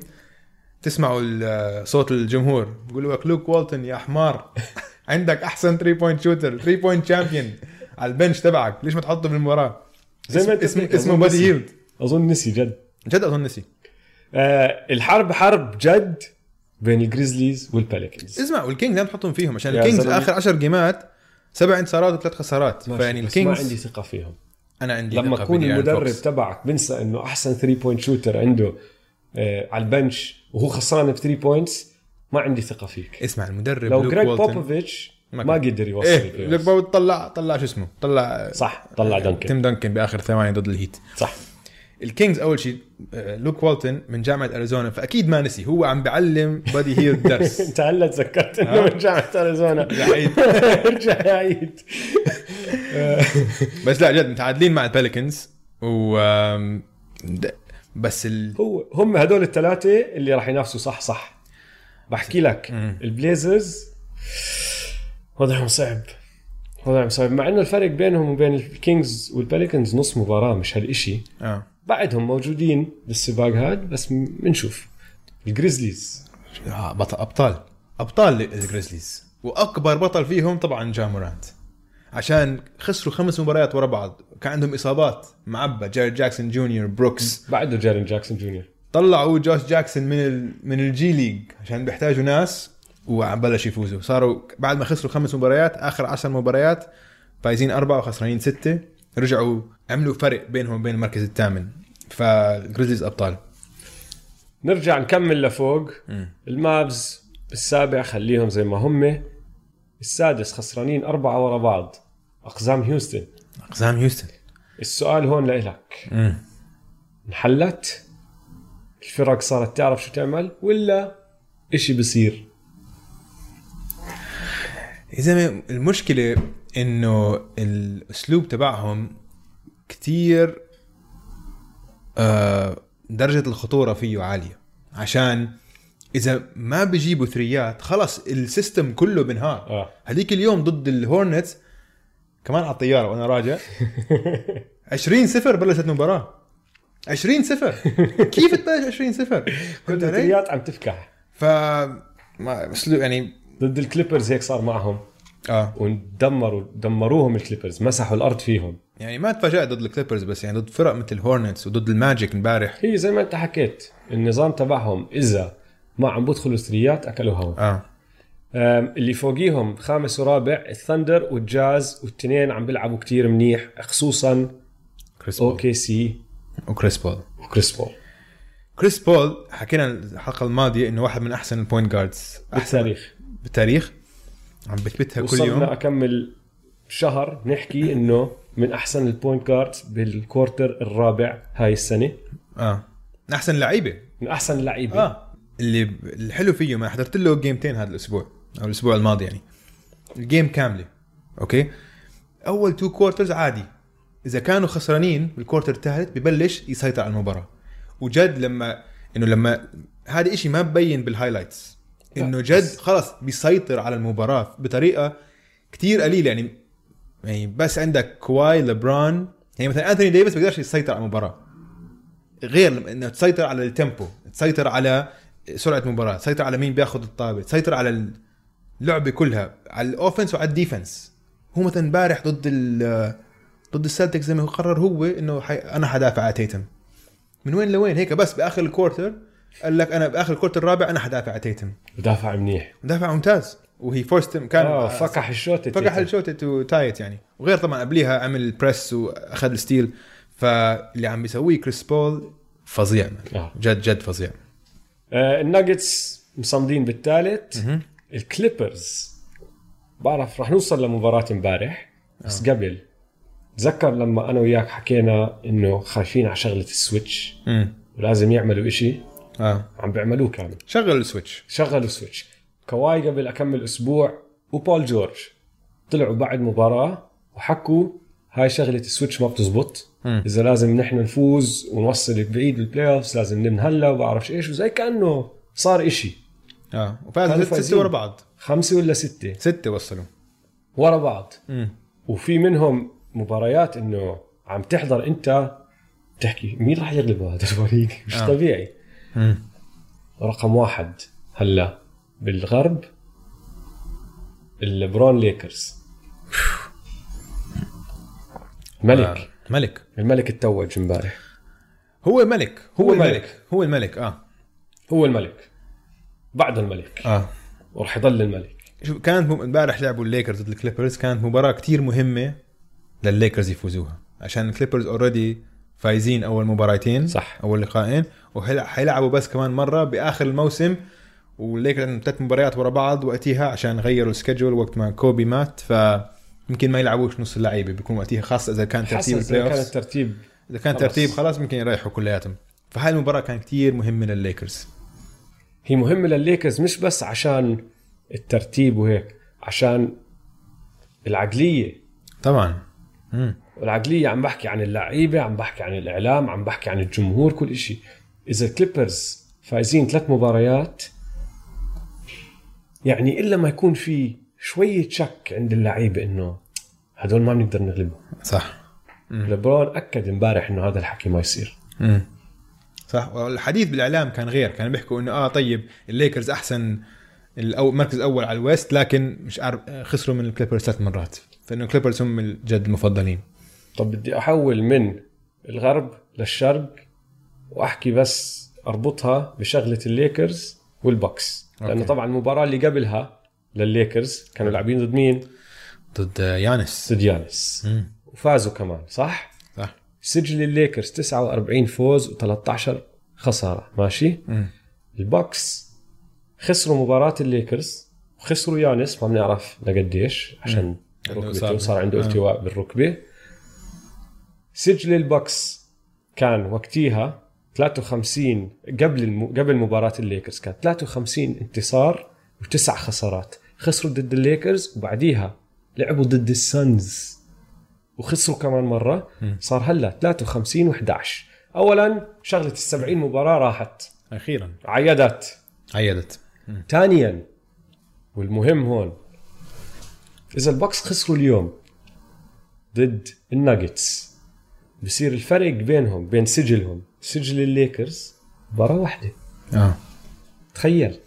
Speaker 2: تسمعوا ال- صوت الجمهور بيقولوا لك لوك والتون يا حمار عندك احسن 3 بوينت شوتر 3 بوينت شامبيون على البنش تبعك ليش ما تحطه بالمباراه
Speaker 1: زي ما
Speaker 2: اسم-
Speaker 1: أنت
Speaker 2: اسم
Speaker 1: بتحكي،
Speaker 2: اسمه
Speaker 1: أظن
Speaker 2: بادي
Speaker 1: نسي.
Speaker 2: هيلد
Speaker 1: اظن نسي جد
Speaker 2: جد اظن نسي
Speaker 1: آه الحرب حرب جد بين الجريزليز والباليكنز
Speaker 2: اسمع والكينجز لازم تحطهم فيهم عشان
Speaker 1: يا
Speaker 2: الكينجز
Speaker 1: زلمة.
Speaker 2: اخر 10 جيمات سبع انتصارات وثلاث خسارات
Speaker 1: ماشي،
Speaker 2: فيعني
Speaker 1: بس ما
Speaker 2: الكينجز
Speaker 1: عندي ثقه فيهم
Speaker 2: انا عندي
Speaker 1: لما
Speaker 2: ثقة
Speaker 1: يكون
Speaker 2: بديان
Speaker 1: المدرب
Speaker 2: فوكس.
Speaker 1: تبعك بنسى انه احسن 3 بوينت شوتر عنده آه على البنش وهو خسران ب 3 بوينتس ما عندي ثقه فيك
Speaker 2: اسمع المدرب
Speaker 1: لو
Speaker 2: لوك
Speaker 1: جريج
Speaker 2: والتون-
Speaker 1: بوبوفيتش
Speaker 2: إيه، ما
Speaker 1: ما,
Speaker 2: كان.
Speaker 1: قدر يوصل
Speaker 2: ايه
Speaker 1: البلاي
Speaker 2: لوك
Speaker 1: أوف.
Speaker 2: بوبوفيتش طلع طلع شو اسمه طلع
Speaker 1: صح طلع دنكن
Speaker 2: تيم دنكن باخر ثواني ضد الهيت
Speaker 1: صح
Speaker 2: الكينجز اول شيء آه، لوك والتون من جامعه اريزونا فاكيد ما نسي هو عم بعلم بادي هيل الدرس
Speaker 1: انت هلا تذكرت انه من جامعه اريزونا
Speaker 2: لعيب.
Speaker 1: رجع يعيد
Speaker 2: بس لا جد متعادلين مع البلكنز و آم، د- بس ال...
Speaker 1: هو هم هدول الثلاثه اللي راح ينافسوا صح صح بحكي لك البليزرز وضعهم صعب وضعهم صعب مع انه الفرق بينهم وبين الكينجز والبليكنز نص مباراه مش هالشيء
Speaker 2: اه
Speaker 1: بعدهم موجودين بالسباق هاد بس م- بنشوف الجريزليز
Speaker 2: آه، بطل ابطال ابطال الجريزليز واكبر بطل فيهم طبعا جامورانت عشان خسروا خمس مباريات ورا بعض كان عندهم اصابات معبى جاري جاكسون جونيور بروكس
Speaker 1: بعده جارين جاكسون جونيور
Speaker 2: طلعوا جوش جاكسون من ال... من الجي ليج عشان بيحتاجوا ناس وبلش يفوزوا صاروا بعد ما خسروا خمس مباريات اخر عشر مباريات فايزين اربعه وخسرانين سته رجعوا عملوا فرق بينهم وبين المركز الثامن فالجريزليز ابطال
Speaker 1: نرجع نكمل لفوق
Speaker 2: مم.
Speaker 1: المابز السابع خليهم زي ما هم السادس خسرانين أربعة ورا بعض أقزام هيوستن
Speaker 2: اقزام هيوستن
Speaker 1: السؤال هون لإلك انحلت الفرق صارت تعرف شو تعمل ولا إشي بصير
Speaker 2: يا زلمه المشكله انه الاسلوب تبعهم كتير آه، درجه الخطوره فيه عاليه عشان اذا ما بيجيبوا ثريات خلص السيستم كله بنهار
Speaker 1: آه.
Speaker 2: هذيك اليوم ضد الهورنتس كمان على الطياره وانا راجع 20 0 بلشت المباراه 20 0 كيف تبلش 20 0
Speaker 1: كل
Speaker 2: كنت علي
Speaker 1: التريات عم تفكح
Speaker 2: ف ما اسلوب يعني
Speaker 1: ضد الكليبرز هيك صار معهم
Speaker 2: اه
Speaker 1: ودمروا دمروهم الكليبرز مسحوا الأرض فيهم
Speaker 2: يعني ما تفاجأت ضد الكليبرز بس يعني ضد فرق مثل الهورنتس وضد الماجيك امبارح
Speaker 1: هي زي ما انت حكيت النظام تبعهم اذا ما عم بدخلوا ثريات اكلوا هوا
Speaker 2: اه
Speaker 1: أم، اللي فوقيهم خامس ورابع الثندر والجاز والتنين عم بيلعبوا كتير منيح خصوصا
Speaker 2: كريس بول
Speaker 1: اوكي سي
Speaker 2: وكريس بول
Speaker 1: وكريس بول
Speaker 2: كريس بول حكينا الحلقه الماضيه انه واحد من احسن البوينت جاردز
Speaker 1: بالتاريخ
Speaker 2: بالتاريخ عم بثبتها كل يوم
Speaker 1: وصلنا اكمل شهر نحكي انه من احسن البوينت جاردز بالكورتر الرابع هاي السنه
Speaker 2: اه من احسن لعيبه
Speaker 1: من احسن اللعيبه آه.
Speaker 2: اه اللي الحلو فيه ما حضرت له جيمتين هذا الاسبوع او الاسبوع الماضي يعني الجيم كامله اوكي اول تو كوارترز عادي اذا كانوا خسرانين بالكوارتر الثالث ببلش يسيطر على المباراه وجد لما انه لما هذا إشي ما ببين بالهايلايتس انه
Speaker 1: لا،
Speaker 2: جد
Speaker 1: بس-
Speaker 2: خلص بيسيطر على المباراه بطريقه كتير قليله يعني يعني بس عندك كواي لبران يعني مثلا انثوني ديفيس بيقدرش يسيطر على المباراه غير لما انه تسيطر على التيمبو تسيطر على سرعه المباراه تسيطر على مين بياخذ الطابه تسيطر على اللعبه كلها على الاوفنس وعلى الديفنس هو مثلا امبارح ضد ال ضد السلتكس زي ما هو قرر هو انه حي... انا حدافع على تيتم من وين لوين هيك بس باخر الكورتر قال لك انا باخر الكورتر الرابع انا حدافع على تيتم
Speaker 1: بدافع منيح
Speaker 2: مدافع ممتاز وهي فورست كان آه،
Speaker 1: اه فكح الشوطه
Speaker 2: فكح
Speaker 1: تيتم.
Speaker 2: الشوتة وتايت يعني وغير طبعا قبليها عمل بريس واخذ الستيل فاللي عم بيسويه كريس بول فظيع مان.
Speaker 1: آه.
Speaker 2: جد جد فظيع
Speaker 1: آه الناجتس مصمدين بالثالث الكليبرز بعرف رح نوصل لمباراة امبارح بس آه. قبل تذكر لما انا وياك حكينا انه خايفين على شغلة السويتش
Speaker 2: امم
Speaker 1: ولازم يعملوا إشي
Speaker 2: اه
Speaker 1: عم بيعملوه كانوا
Speaker 2: شغل السويتش
Speaker 1: شغلوا سويتش كواي قبل اكمل اسبوع وبول جورج طلعوا بعد مباراة وحكوا هاي شغلة السويتش ما بتزبط
Speaker 2: مم.
Speaker 1: اذا لازم نحن نفوز ونوصل بعيد بالبلاي اوفز لازم نبني هلا وبعرفش ايش وزي كانه صار إشي
Speaker 2: اه
Speaker 1: كانوا
Speaker 2: وفاز ست-
Speaker 1: فايزين.
Speaker 2: ستة ورا بعض
Speaker 1: خمسة ولا ستة
Speaker 2: ستة وصلوا
Speaker 1: ورا بعض
Speaker 2: امم
Speaker 1: وفي منهم مباريات انه عم تحضر انت تحكي مين راح يغلبه هذا الفريق مش آه.
Speaker 2: آه.
Speaker 1: طبيعي
Speaker 2: امم
Speaker 1: رقم واحد هلا بالغرب البرون ليكرز
Speaker 2: آه.
Speaker 1: ملك
Speaker 2: ملك
Speaker 1: الملك التوج امبارح
Speaker 2: هو ملك هو,
Speaker 1: هو
Speaker 2: الملك.
Speaker 1: ملك.
Speaker 2: هو الملك اه
Speaker 1: هو الملك بعد الملك
Speaker 2: اه
Speaker 1: ورح يضل الملك
Speaker 2: شوف كانت م- امبارح لعبوا الليكرز ضد الكليبرز كانت مباراة كتير مهمة للليكرز يفوزوها عشان الكليبرز اوريدي فايزين اول مباراتين
Speaker 1: صح.
Speaker 2: اول لقاءين وحيلعبوا بس كمان مرة باخر الموسم والليكرز عندهم ثلاث مباريات ورا بعض وقتها عشان غيروا السكجول وقت ما كوبي مات ف يمكن ما يلعبوش نص اللعيبه بيكون وقتها خاصه اذا كان
Speaker 1: حسب
Speaker 2: ترتيب
Speaker 1: إذا
Speaker 2: البلاي
Speaker 1: كان
Speaker 2: اوف
Speaker 1: الترتيب
Speaker 2: اذا كان
Speaker 1: خلاص.
Speaker 2: ترتيب خلاص ممكن يريحوا كلياتهم فهاي المباراه كانت كتير مهمه للليكرز
Speaker 1: هي مهمة للليكرز مش بس عشان الترتيب وهيك عشان العقلية
Speaker 2: طبعا مم.
Speaker 1: العقلية عم بحكي عن اللعيبة عم بحكي عن الإعلام عم بحكي عن الجمهور كل إشي إذا الكليبرز فايزين ثلاث مباريات يعني إلا ما يكون في شوية شك عند اللعيبة إنه هدول ما بنقدر نغلبهم
Speaker 2: صح
Speaker 1: لبرون أكد امبارح إنه هذا الحكي ما يصير
Speaker 2: امم صح والحديث بالاعلام كان غير كانوا بيحكوا انه اه طيب الليكرز احسن الأو... مركز الاول على الويست لكن مش عارف خسروا من الكليبرز ثلاث مرات فانه الكليبرز هم الجد المفضلين
Speaker 1: طب بدي أحول من الغرب للشرق وأحكي بس أربطها بشغلة الليكرز والبكس لأنه
Speaker 2: أوكي.
Speaker 1: طبعا المباراة اللي قبلها للليكرز كانوا لاعبين ضد مين؟
Speaker 2: ضد يانس
Speaker 1: ضد يانس
Speaker 2: امم
Speaker 1: وفازوا كمان صح؟
Speaker 2: صح
Speaker 1: سجل الليكرز 49 فوز و13 خساره ماشي؟
Speaker 2: امم
Speaker 1: البوكس خسروا مباراه الليكرز وخسروا يانس ما بنعرف لقديش عشان
Speaker 2: عنده
Speaker 1: ركبته
Speaker 2: إصابة.
Speaker 1: صار عنده
Speaker 2: آه.
Speaker 1: التواء بالركبه سجل البوكس كان وقتيها 53 قبل الم... قبل مباراه الليكرز كان 53 انتصار وتسع خسارات خسروا ضد الليكرز وبعديها لعبوا ضد السانز وخسروا كمان مره
Speaker 2: مم.
Speaker 1: صار هلا 53 و11 اولا شغله ال 70 مباراه راحت
Speaker 2: اخيرا
Speaker 1: عيدت
Speaker 2: عيدت
Speaker 1: ثانيا والمهم هون اذا البكس خسروا اليوم ضد الناجتس بصير الفرق بينهم بين سجلهم سجل الليكرز مباراه واحده
Speaker 2: اه
Speaker 1: تخيل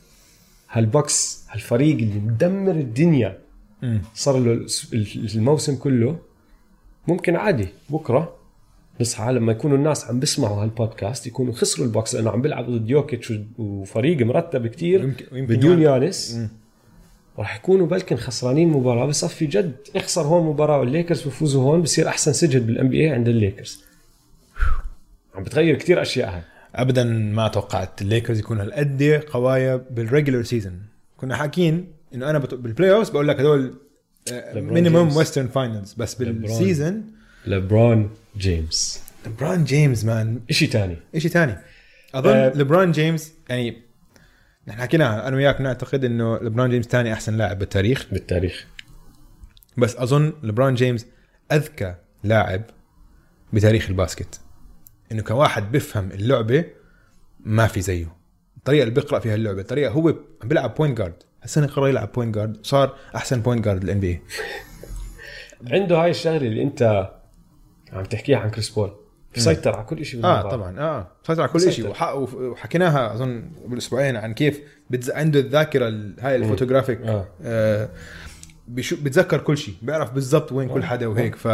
Speaker 1: هالبكس هالفريق اللي مدمر الدنيا
Speaker 2: امم
Speaker 1: صار له الأس- ال- الموسم كله ممكن عادي بكره نصحى لما يكونوا الناس عم بيسمعوا هالبودكاست يكونوا خسروا البوكس لانه عم بيلعبوا ضد يوكيتش و- وفريق مرتب كتير
Speaker 2: ويمكن- ويمكن
Speaker 1: بدون
Speaker 2: يعني-
Speaker 1: يانس
Speaker 2: مم.
Speaker 1: راح يكونوا بلكن خسرانين مباراه بصفي جد اخسر هون مباراه والليكرز بفوزوا هون بصير احسن سجل بالان بي اي عند الليكرز عم بتغير كتير اشياء هاي
Speaker 2: ابدا ما توقعت الليكرز يكون هالقد قوايا بالريجلر سيزون كنا حاكين انه انا بت- بالبلاي اوفز بقول لك هدول آه،
Speaker 1: ليبرون
Speaker 2: مينيمم
Speaker 1: جيمس.
Speaker 2: ويسترن فاينلز بس
Speaker 1: ليبرون.
Speaker 2: بالسيزون
Speaker 1: لبرون جيمس
Speaker 2: لبران جيمس مان
Speaker 1: شيء ثاني
Speaker 2: شيء ثاني اظن
Speaker 1: آه،
Speaker 2: لبران جيمس يعني نحن حكيناها انا وياك نعتقد انه لبران جيمس ثاني احسن لاعب بالتاريخ
Speaker 1: بالتاريخ
Speaker 2: بس اظن لبران جيمس اذكى لاعب بتاريخ الباسكت انه كواحد بيفهم اللعبه ما في زيه الطريقه اللي بيقرا فيها اللعبه الطريقه هو بيلعب بوينت جارد السنه قرر يلعب بوينت جارد صار احسن بوينت جارد الان بي اي
Speaker 1: عنده هاي الشغله اللي انت عم تحكيها عن كريس بول بيسيطر على كل شيء
Speaker 2: اه طبعا اه سيطر على كل
Speaker 1: مسيطر.
Speaker 2: شيء وح- وف- وحكيناها اظن بالاسبوعين عن كيف بتز... عنده الذاكره ال- هاي الفوتوغرافيك
Speaker 1: آه.
Speaker 2: آه. بيشو... بتذكر كل شيء بيعرف بالضبط وين كل حدا وهيك ف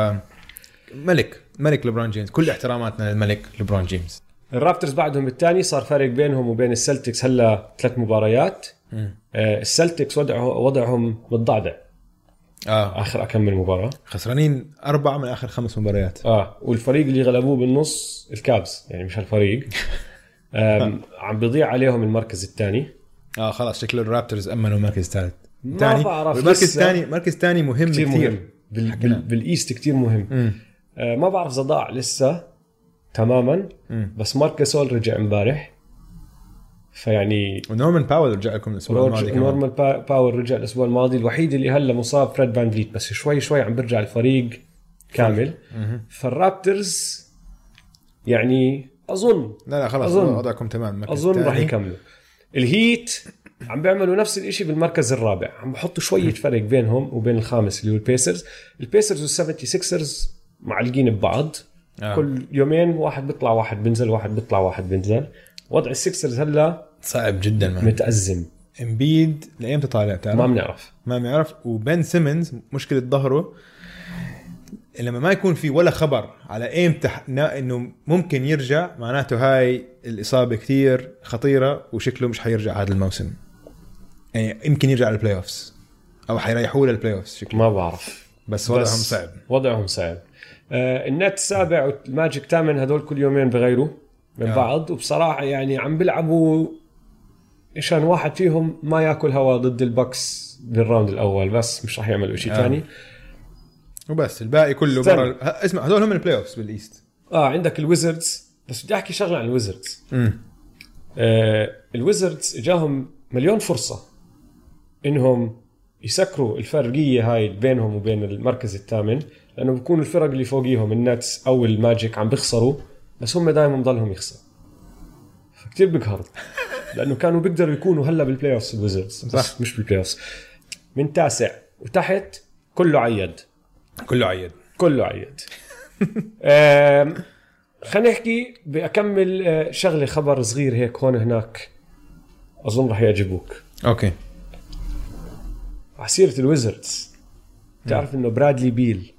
Speaker 2: ملك ملك لبرون جيمس كل احتراماتنا للملك لبرون جيمس
Speaker 1: الرابترز بعدهم الثاني صار فرق بينهم وبين السلتكس هلا ثلاث مباريات آه، السلتكس وضعه وضعهم متضعضع
Speaker 2: اه
Speaker 1: اخر اكمل مباراه
Speaker 2: خسرانين اربعه من اخر خمس مباريات
Speaker 1: اه والفريق اللي غلبوه بالنص الكابز يعني مش هالفريق آم، عم بيضيع عليهم المركز الثاني
Speaker 2: اه خلاص شكله الرابترز امنوا مركز ثالث
Speaker 1: ما
Speaker 2: تاني
Speaker 1: بعرف
Speaker 2: المركز
Speaker 1: لسه.
Speaker 2: الثاني مركز ثاني مهم
Speaker 1: كثير
Speaker 2: كثير
Speaker 1: مهم بال... بال...
Speaker 2: حكينا.
Speaker 1: بالايست كثير مهم
Speaker 2: مم.
Speaker 1: آه ما بعرف اذا ضاع لسه تماما
Speaker 2: مم.
Speaker 1: بس ماركسول رجع امبارح فيعني
Speaker 2: ونورمان باول رجع لكم الاسبوع الماضي
Speaker 1: رورج-
Speaker 2: كمان.
Speaker 1: نورمان با- باور رجع الاسبوع الماضي الوحيد اللي هلا مصاب فريد فان فليت بس شوي شوي عم برجع الفريق كامل
Speaker 2: مهم.
Speaker 1: فالرابترز يعني اظن
Speaker 2: لا لا خلاص
Speaker 1: أظن-
Speaker 2: وضعكم تمام المركز
Speaker 1: اظن راح
Speaker 2: الثاني.
Speaker 1: يكملوا الهيت عم بيعملوا نفس الشيء بالمركز الرابع عم بحطوا شويه فرق بينهم وبين الخامس اللي هو البيسرز البيسرز والسفنتي سيكسرز معلقين ببعض
Speaker 2: آه.
Speaker 1: آه. كل يومين واحد بيطلع واحد بينزل واحد بيطلع واحد بينزل وضع السيكسرز هلا
Speaker 2: صعب جدا مان
Speaker 1: متازم
Speaker 2: امبيد لايمتى طالع بتعرف؟
Speaker 1: ما بنعرف
Speaker 2: ما بيعرف وبن سيمنز مشكله ظهره لما ما يكون في ولا خبر على امتى ح- نا- انه ممكن يرجع معناته هاي الاصابه كثير خطيره وشكله مش حيرجع هذا الموسم يعني يمكن يرجع للبلاي اوفز او حيريحوه للبلاي اوفز شكله
Speaker 1: ما بعرف
Speaker 2: بس وضعهم
Speaker 1: بس
Speaker 2: صعب
Speaker 1: وضعهم صعب آه النت السابع والماجيك الثامن هدول كل يومين بغيروا من
Speaker 2: آه.
Speaker 1: بعض وبصراحه يعني عم بيلعبوا عشان واحد فيهم ما ياكل هواء ضد البكس بالراوند الاول بس مش رح يعملوا شيء
Speaker 2: آه.
Speaker 1: ثاني
Speaker 2: وبس الباقي كله
Speaker 1: استنى.
Speaker 2: برا ه- اسمع هذول هم البلاي اوفز بالايست
Speaker 1: آه. اه عندك الويزردز بس بدي احكي شغله عن الويزردز
Speaker 2: امم
Speaker 1: آه الويزردز اجاهم مليون فرصه انهم يسكروا الفرقيه هاي بينهم وبين المركز الثامن لانه بكون الفرق اللي فوقيهم النتس او الماجيك عم بيخسروا بس هم دائما بضلهم يخسروا فكتير بقهر لانه كانوا بيقدروا يكونوا هلا بالبلاي اوف الويزردز
Speaker 2: صح.
Speaker 1: بس مش بالبلاي اوف من تاسع وتحت كله عيد
Speaker 2: كله عيد
Speaker 1: كله عيد آم، خلينا نحكي بأكمل آه، شغلة خبر صغير هيك هون هناك أظن رح يعجبوك
Speaker 2: اوكي
Speaker 1: عسيرة الويزردز تعرف إنه برادلي بيل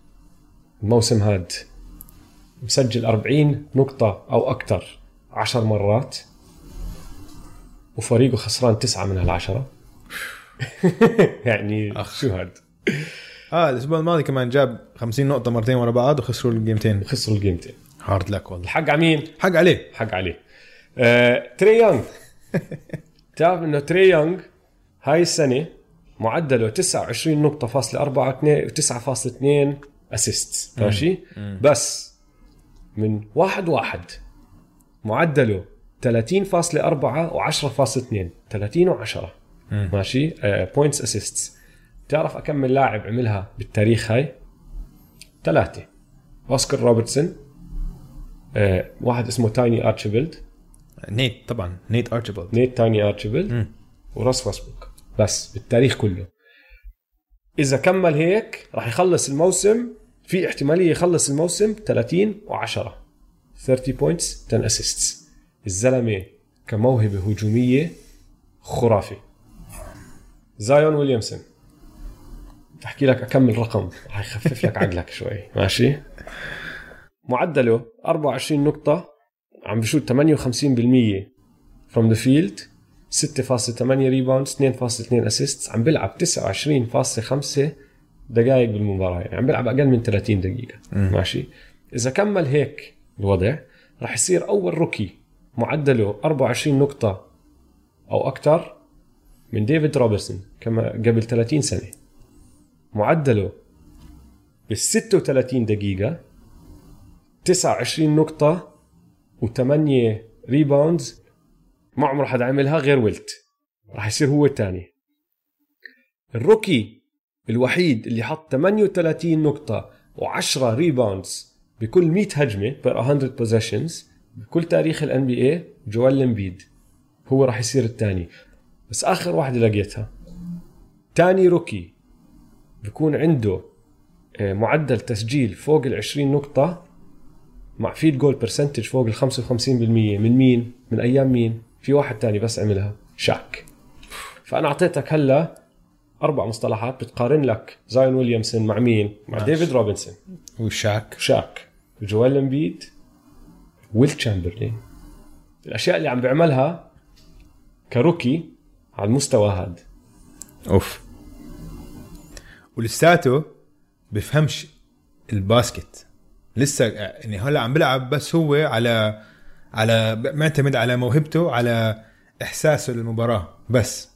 Speaker 1: الموسم هاد مسجل 40 نقطة أو أكثر 10 مرات وفريقه خسران تسعة من هالعشرة يعني
Speaker 2: أخ.
Speaker 1: شو هاد
Speaker 2: اه الاسبوع الماضي كمان جاب 50 نقطه مرتين ورا بعض وخسروا الجيمتين
Speaker 1: خسروا الجيمتين
Speaker 2: هارد لك والله
Speaker 1: الحق على مين؟
Speaker 2: حق عليه
Speaker 1: حق عليه آه، تري يونغ تعرف انه تري يونغ هاي السنه معدله 29 نقطه فاصلة 4 و9.2 اسيست ماشي بس من واحد واحد معدله 30.4 و10.2 30 و10 ماشي بوينتس اسيستس تعرف اكمل لاعب عملها بالتاريخ هاي ثلاثه اوسكار روبرتسون آه، واحد اسمه تايني ارشيبلد
Speaker 2: نيت طبعا نيت ارشيبالد
Speaker 1: نيت تايني ارشيبلد
Speaker 2: مم.
Speaker 1: وراس واسبوك بس بالتاريخ كله اذا كمل هيك راح يخلص الموسم في احتماليه يخلص الموسم 30 و10 30 بوينتس 10 اسيستس الزلمه كموهبه هجوميه خرافي زايون ويليامسون بحكي لك اكمل رقم راح يخفف لك عقلك شوي ماشي معدله 24 نقطه عم بشوت 58% فروم ذا فيلد 6.8 ريباوندز 2.2 اسيست عم بيلعب 29.5 دقائق بالمباراه يعني عم بيلعب اقل من 30 دقيقه ماشي اذا كمل هيك الوضع راح يصير اول روكي معدله 24 نقطة أو أكثر من ديفيد روبرتسون كما قبل 30 سنة معدله بال 36 دقيقة 29 نقطة و8 ريباوندز ما عمره حدا عملها غير ويلت راح يصير هو الثاني الروكي الوحيد اللي حط 38 نقطة و10 ريباوندز بكل 100 هجمة per 100 possessions بكل تاريخ الان بي اي جوال امبيد هو راح يصير الثاني بس اخر واحدة لقيتها ثاني روكي بكون عنده آه، معدل تسجيل فوق ال 20 نقطة مع فيد جول برسنتج فوق ال 55% من مين؟ من ايام مين؟ في واحد تاني بس عملها شاك فانا اعطيتك هلا اربع مصطلحات بتقارن لك زاين ويليامسون مع مين؟ مع
Speaker 2: ماشي.
Speaker 1: ديفيد روبنسون
Speaker 2: وشاك
Speaker 1: شاك جوال امبيد ويل تشامبرلين الاشياء اللي عم بيعملها كروكي على المستوى هذا
Speaker 2: اوف ولساته بفهمش الباسكت لسه يعني هلا عم بلعب بس هو على على معتمد على موهبته على احساسه للمباراه بس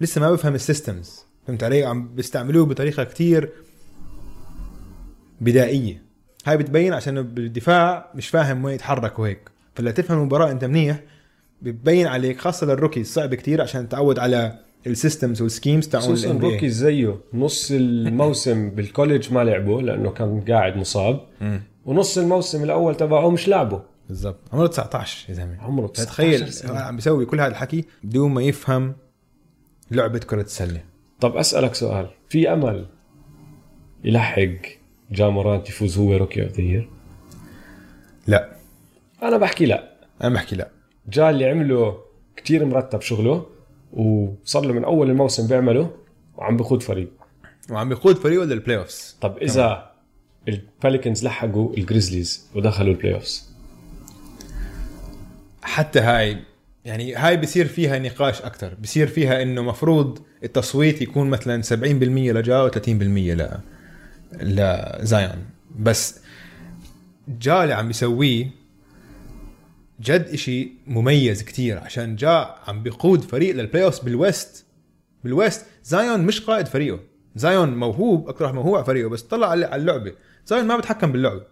Speaker 2: لسه ما بفهم السيستمز فهمت علي عم بيستعملوه بطريقه كتير بدائيه هاي بتبين عشان بالدفاع مش فاهم وين يتحرك وهيك فلا تفهم المباراه انت منيح بتبين عليك خاصه للروكي صعب كتير عشان تتعود على السيستمز والسكيمز تاعون
Speaker 1: خصوصا
Speaker 2: ال NBA.
Speaker 1: روكي زيه نص الموسم بالكوليج ما لعبه لانه كان قاعد مصاب
Speaker 2: مم.
Speaker 1: ونص الموسم الاول تبعه مش لعبه
Speaker 2: بالضبط عمره 19 يا زلمه
Speaker 1: عمره 19
Speaker 2: تخيل
Speaker 1: سنة.
Speaker 2: عم بيسوي كل هذا الحكي بدون ما يفهم لعبه كره السله
Speaker 1: طب اسالك سؤال في امل يلحق جامورانت يفوز هو روكي اوف ذا يير
Speaker 2: لا
Speaker 1: انا بحكي لا
Speaker 2: انا بحكي لا
Speaker 1: جا اللي عمله كتير مرتب شغله وصار له من اول الموسم بيعمله وعم بقود فريق
Speaker 2: وعم بيقود فريقه للبلاي اوفز
Speaker 1: طب اذا الباليكنز لحقوا الجريزليز ودخلوا البلاي اوفز
Speaker 2: حتى هاي يعني هاي بصير فيها نقاش اكثر بصير فيها انه مفروض التصويت يكون مثلا 70% لجا و30% ل لزايون بس جا اللي عم بيسويه جد اشي مميز كتير عشان جا عم بيقود فريق للبلاي اوفز بالويست بالويست زايون مش قائد فريقه زايون موهوب اكثر موهوب على فريقه بس طلع على على اللعبه زايون ما بتحكم باللعبه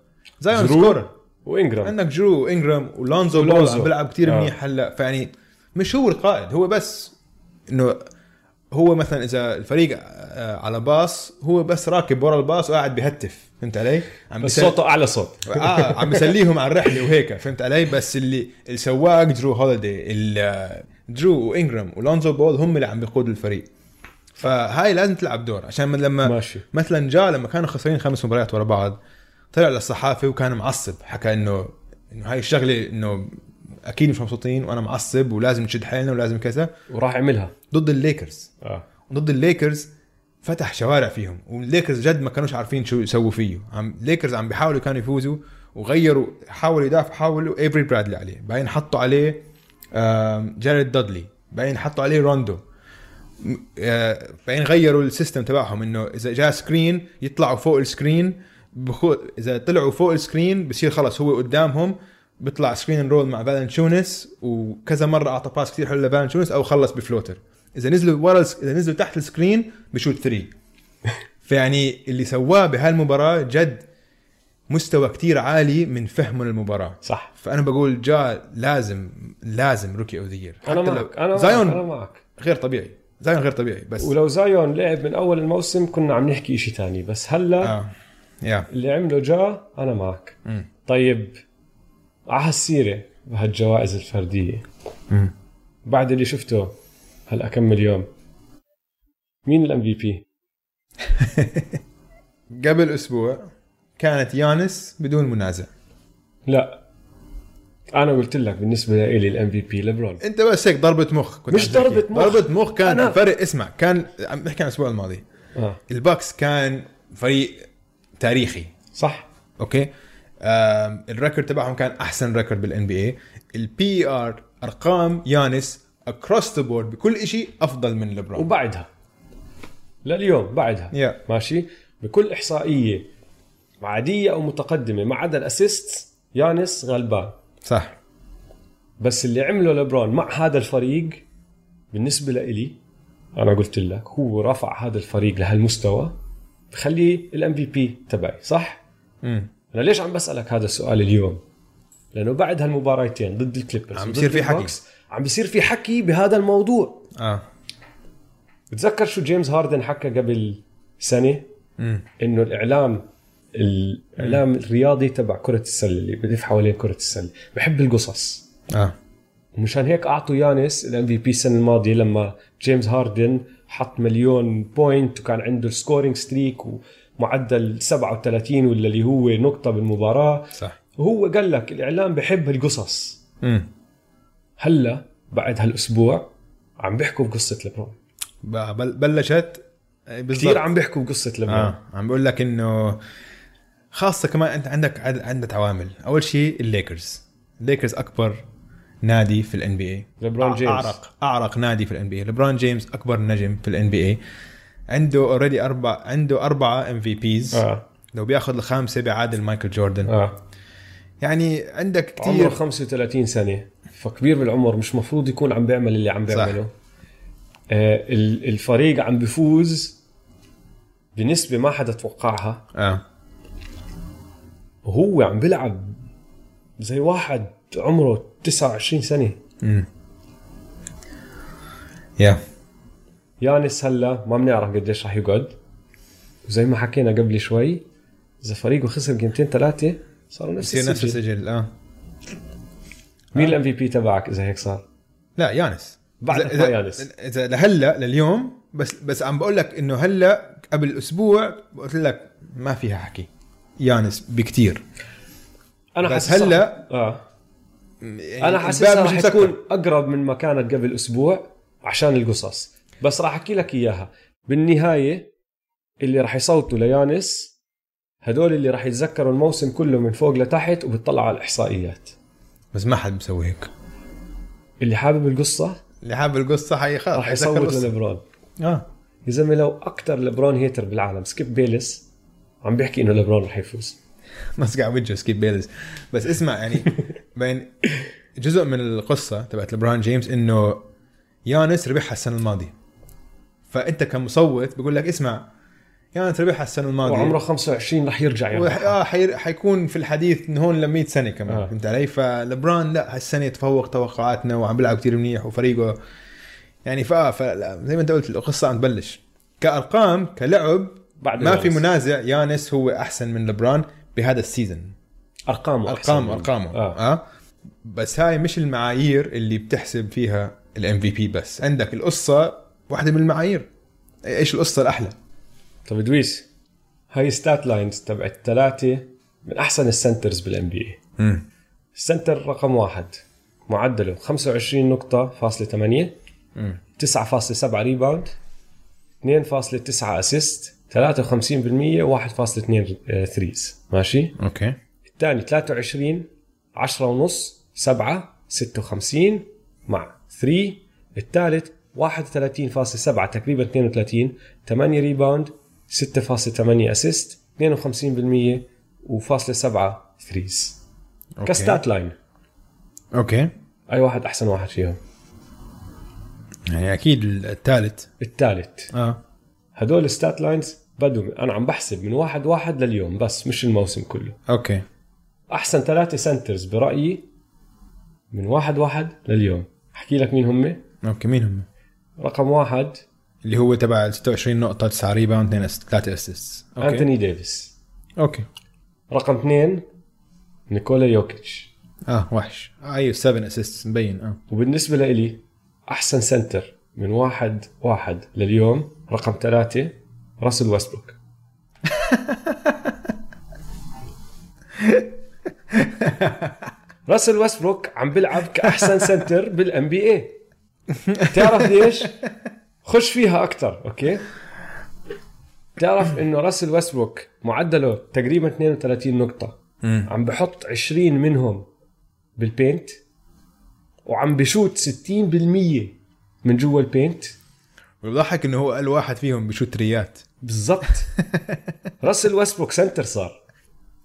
Speaker 2: زايون
Speaker 1: جرو.
Speaker 2: سكورر
Speaker 1: وانجرام
Speaker 2: عندك جرو انجرام ولونزو بول
Speaker 1: ولونزو.
Speaker 2: عم بيلعب كثير
Speaker 1: آه.
Speaker 2: منيح هلا فيعني مش هو القائد هو بس انه هو مثلا اذا الفريق آه، على باص هو بس راكب ورا الباص وقاعد بهتف فهمت علي؟ عم
Speaker 1: بس
Speaker 2: بيسل-
Speaker 1: صوته اعلى صوت
Speaker 2: اه عم بسليهم على الرحله وهيك فهمت علي بس اللي السواق درو هوليدي ال- درو وانجرام ولونزو بول هم اللي عم بيقودوا الفريق فهاي لازم تلعب دور عشان لما
Speaker 1: ماشي
Speaker 2: مثلا جاء لما كانوا خسرين خمس مباريات ورا بعض طلع للصحافه وكان معصب حكى انه انه هاي الشغله انه اكيد مش مبسوطين وانا معصب ولازم نشد حالنا ولازم كذا
Speaker 1: وراح يعملها
Speaker 2: ضد الليكرز
Speaker 1: آه.
Speaker 2: ضد الليكرز فتح شوارع فيهم والليكرز جد ما كانوش عارفين شو يسووا فيه عم الليكرز عم بيحاولوا كانوا يفوزوا وغيروا حاولوا يدافعوا حاولوا ايفري برادلي عليه بعدين حطوا عليه آم، جاريد دادلي بعدين حطوا عليه روندو م- آه، بعدين غيروا السيستم تبعهم انه اذا جاء سكرين يطلعوا فوق السكرين بخو... اذا طلعوا فوق السكرين بصير خلص هو قدامهم بيطلع سكرين رول مع فالنشونس وكذا مره اعطى باس كثير حلو لفالنشونس او خلص بفلوتر اذا نزلوا ورا الس... اذا نزلوا تحت السكرين بشوت ثري فيعني اللي سواه بهالمباراه جد مستوى كتير عالي من فهمه للمباراه
Speaker 1: صح
Speaker 2: فانا بقول جا لازم لازم روكي اوف ذا يير
Speaker 1: انا معك انا معك انا
Speaker 2: زايون
Speaker 1: معك
Speaker 2: غير طبيعي زايون غير طبيعي بس
Speaker 1: ولو زايون لعب من اول الموسم كنا عم نحكي إشي تاني بس هلا
Speaker 2: اه يا
Speaker 1: اللي عمله جا انا معك
Speaker 2: مم.
Speaker 1: طيب على هالسيره بهالجوائز الفرديه
Speaker 2: مم.
Speaker 1: بعد اللي شفته هلا كم يوم مين الام في بي؟
Speaker 2: قبل اسبوع كانت يانس بدون منازع
Speaker 1: لا انا قلت لك بالنسبه لي الام في بي لبرون
Speaker 2: انت بس هيك ضربه مخ كنت
Speaker 1: مش
Speaker 2: عم تحكي.
Speaker 1: ضربة مخ.
Speaker 2: ضربه مخ كان
Speaker 1: أنا-
Speaker 2: فرق اسمع كان عم نحكي عن الاسبوع الماضي
Speaker 1: اه
Speaker 2: الباكس كان فريق تاريخي
Speaker 1: صح
Speaker 2: اوكي آم، الريكورد تبعهم كان احسن ريكورد بالان بي اي البي ار ارقام يانس اكروس ذا بورد بكل شيء افضل من لبرون
Speaker 1: وبعدها لليوم بعدها
Speaker 2: يا
Speaker 1: ماشي بكل احصائيه عاديه او متقدمه ما عدا الاسيست يانس غلبان
Speaker 2: صح
Speaker 1: بس اللي عمله لبرون مع هذا الفريق بالنسبه لإلي انا قلت لك هو رفع هذا الفريق لهالمستوى بخليه الام في بي تبعي صح
Speaker 2: مم.
Speaker 1: انا ليش عم بسالك هذا السؤال اليوم لانه بعد هالمباراتين ضد الكليبرز
Speaker 2: عم
Speaker 1: وضد
Speaker 2: بصير في حكي.
Speaker 1: البوكس، عم بيصير في حكي بهذا الموضوع
Speaker 2: اه
Speaker 1: بتذكر شو جيمس هاردن حكى قبل سنه
Speaker 2: مم.
Speaker 1: انه الاعلام الاعلام الرياضي تبع كره السله اللي بلف حوالين كره السله بحب القصص
Speaker 2: اه
Speaker 1: ومشان هيك اعطوا يانس الام في بي السنه الماضيه لما جيمس هاردن حط مليون بوينت وكان عنده السكورينج ستريك ومعدل 37 ولا اللي هو نقطه بالمباراه
Speaker 2: صح
Speaker 1: وهو قال لك الاعلام بحب القصص
Speaker 2: مم.
Speaker 1: هلا بعد هالاسبوع عم بيحكوا بقصه لبرون
Speaker 2: ب- بل- بلشت آه، بالضبط.
Speaker 1: كثير عم بيحكوا بقصه لبرون
Speaker 2: اه عم بقول لك انه خاصه كمان انت عندك عد- عندك عوامل اول شيء الليكرز الليكرز اكبر نادي في الان بي اي
Speaker 1: لبرون جيمس.
Speaker 2: اعرق اعرق نادي في الان بي اي لبرون جيمس اكبر نجم في الان بي اي عنده اوريدي اربع عنده اربعه ام في بيز
Speaker 1: اه
Speaker 2: لو بياخذ الخامسه بيعادل مايكل جوردن
Speaker 1: اه
Speaker 2: يعني عندك
Speaker 1: عمره
Speaker 2: كثير
Speaker 1: 35 سنه فكبير بالعمر مش مفروض يكون عم بيعمل اللي عم
Speaker 2: صح.
Speaker 1: بيعمله آه ال- الفريق عم بفوز بنسبه ما حدا توقعها
Speaker 2: اه
Speaker 1: وهو عم بيلعب زي واحد عمره 29 سنه
Speaker 2: امم يا
Speaker 1: يانس هلا ما بنعرف قديش رح يقعد وزي ما حكينا قبل شوي اذا فريقه خسر جيمتين ثلاثه صاروا نفس
Speaker 2: بصير نفس
Speaker 1: السجن
Speaker 2: السجل اه
Speaker 1: مين الام في بي تبعك اذا هيك صار؟
Speaker 2: لا يانس
Speaker 1: بعد
Speaker 2: إذا-
Speaker 1: ما
Speaker 2: إذا-
Speaker 1: يانس.
Speaker 2: اذا لهلا لليوم بس بس عم بقول لك انه هلا قبل اسبوع قلت لك ما فيها حكي يانس بكتير
Speaker 1: انا
Speaker 2: بس
Speaker 1: حاسس
Speaker 2: هلا-
Speaker 1: اه
Speaker 2: يعني
Speaker 1: انا
Speaker 2: الباب
Speaker 1: حاسسها
Speaker 2: مش
Speaker 1: رح
Speaker 2: مسكر.
Speaker 1: تكون اقرب من ما كانت قبل اسبوع عشان القصص بس راح احكي لك اياها بالنهايه اللي راح يصوتوا ليانس هدول اللي راح يتذكروا الموسم كله من فوق لتحت وبتطلعوا على الاحصائيات
Speaker 2: بس ما حد مسوي هيك
Speaker 1: اللي حابب القصه
Speaker 2: اللي حابب القصه حي خلص
Speaker 1: راح
Speaker 2: حيسكر
Speaker 1: يصوت
Speaker 2: القصة.
Speaker 1: للبرون
Speaker 2: اه
Speaker 1: يا زلمه لو اكثر لبرون هيتر بالعالم سكيب بيلس عم بيحكي انه لبرون راح يفوز
Speaker 2: مسك على وجهه سكيب بيلز بس اسمع يعني بين جزء من القصه تبعت لبران جيمس انه يانس ربحها السنه الماضيه فانت كمصوت بقول لك اسمع يانس ربحها السنه الماضيه
Speaker 1: وعمره 25 راح يرجع
Speaker 2: وح...
Speaker 1: يعني
Speaker 2: اه حي... حيكون في الحديث من هون ل 100 سنه كمان
Speaker 1: آه.
Speaker 2: آه. فهمت علي؟ فلبران لا هالسنه تفوق توقعاتنا وعم بيلعب كثير منيح وفريقه يعني فا فلا زي ما انت قلت القصه عم تبلش كارقام كلعب
Speaker 1: بعد
Speaker 2: ما في
Speaker 1: يانس.
Speaker 2: منازع يانس هو احسن من لبران بهذا السيزون
Speaker 1: ارقامه أحسن
Speaker 2: ارقامه
Speaker 1: منه.
Speaker 2: ارقامه
Speaker 1: آه.
Speaker 2: آه. بس هاي مش المعايير اللي بتحسب فيها الام في بي بس عندك القصه واحده من المعايير ايش القصه الاحلى
Speaker 1: طب ادويس هاي ستات لاينز تبعت ثلاثه من احسن السنترز بالان بي اي
Speaker 2: امم
Speaker 1: السنتر رقم واحد معدله 25 نقطة فاصلة 8
Speaker 2: مم.
Speaker 1: 9.7 ريباوند 2.9 اسيست 53% 1.2 ثريز آه، ماشي
Speaker 2: اوكي
Speaker 1: الثاني 23 10 ونص 7 56 مع 3 الثالث 31.7 تقريبا 32 8 ريباوند 6.8 اسيست 52% وفاصلة 7 ثريز
Speaker 2: أوكي.
Speaker 1: كستات لاين
Speaker 2: اوكي
Speaker 1: اي واحد احسن واحد فيهم
Speaker 2: يعني اكيد الثالث
Speaker 1: الثالث
Speaker 2: اه
Speaker 1: هدول الستات لاينز بدوا انا عم بحسب من واحد واحد لليوم بس مش الموسم كله
Speaker 2: اوكي
Speaker 1: احسن ثلاثه سنترز برايي من واحد واحد لليوم احكي لك مين هم
Speaker 2: اوكي مين هم؟
Speaker 1: رقم واحد
Speaker 2: اللي هو تبع 26 نقطة 9 ريباوند 2 3 اسيست
Speaker 1: انتوني ديفيس
Speaker 2: اوكي
Speaker 1: رقم اثنين نيكولا يوكيتش
Speaker 2: اه وحش آه، ايوه 7 اسيست مبين اه
Speaker 1: وبالنسبه لإلي احسن سنتر من واحد واحد لليوم رقم ثلاثه راسل ويستبروك راسل ويستبروك عم بيلعب كاحسن سنتر بالان بي اي تعرف ليش؟ خش فيها اكثر اوكي تعرف انه راسل ويستبروك معدله تقريبا 32 نقطه عم بحط 20 منهم بالبينت وعم بشوت 60% من جوا البينت
Speaker 2: والضحك انه هو قال واحد فيهم بشوت ريات
Speaker 1: بالضبط راسل ويستبروك سنتر صار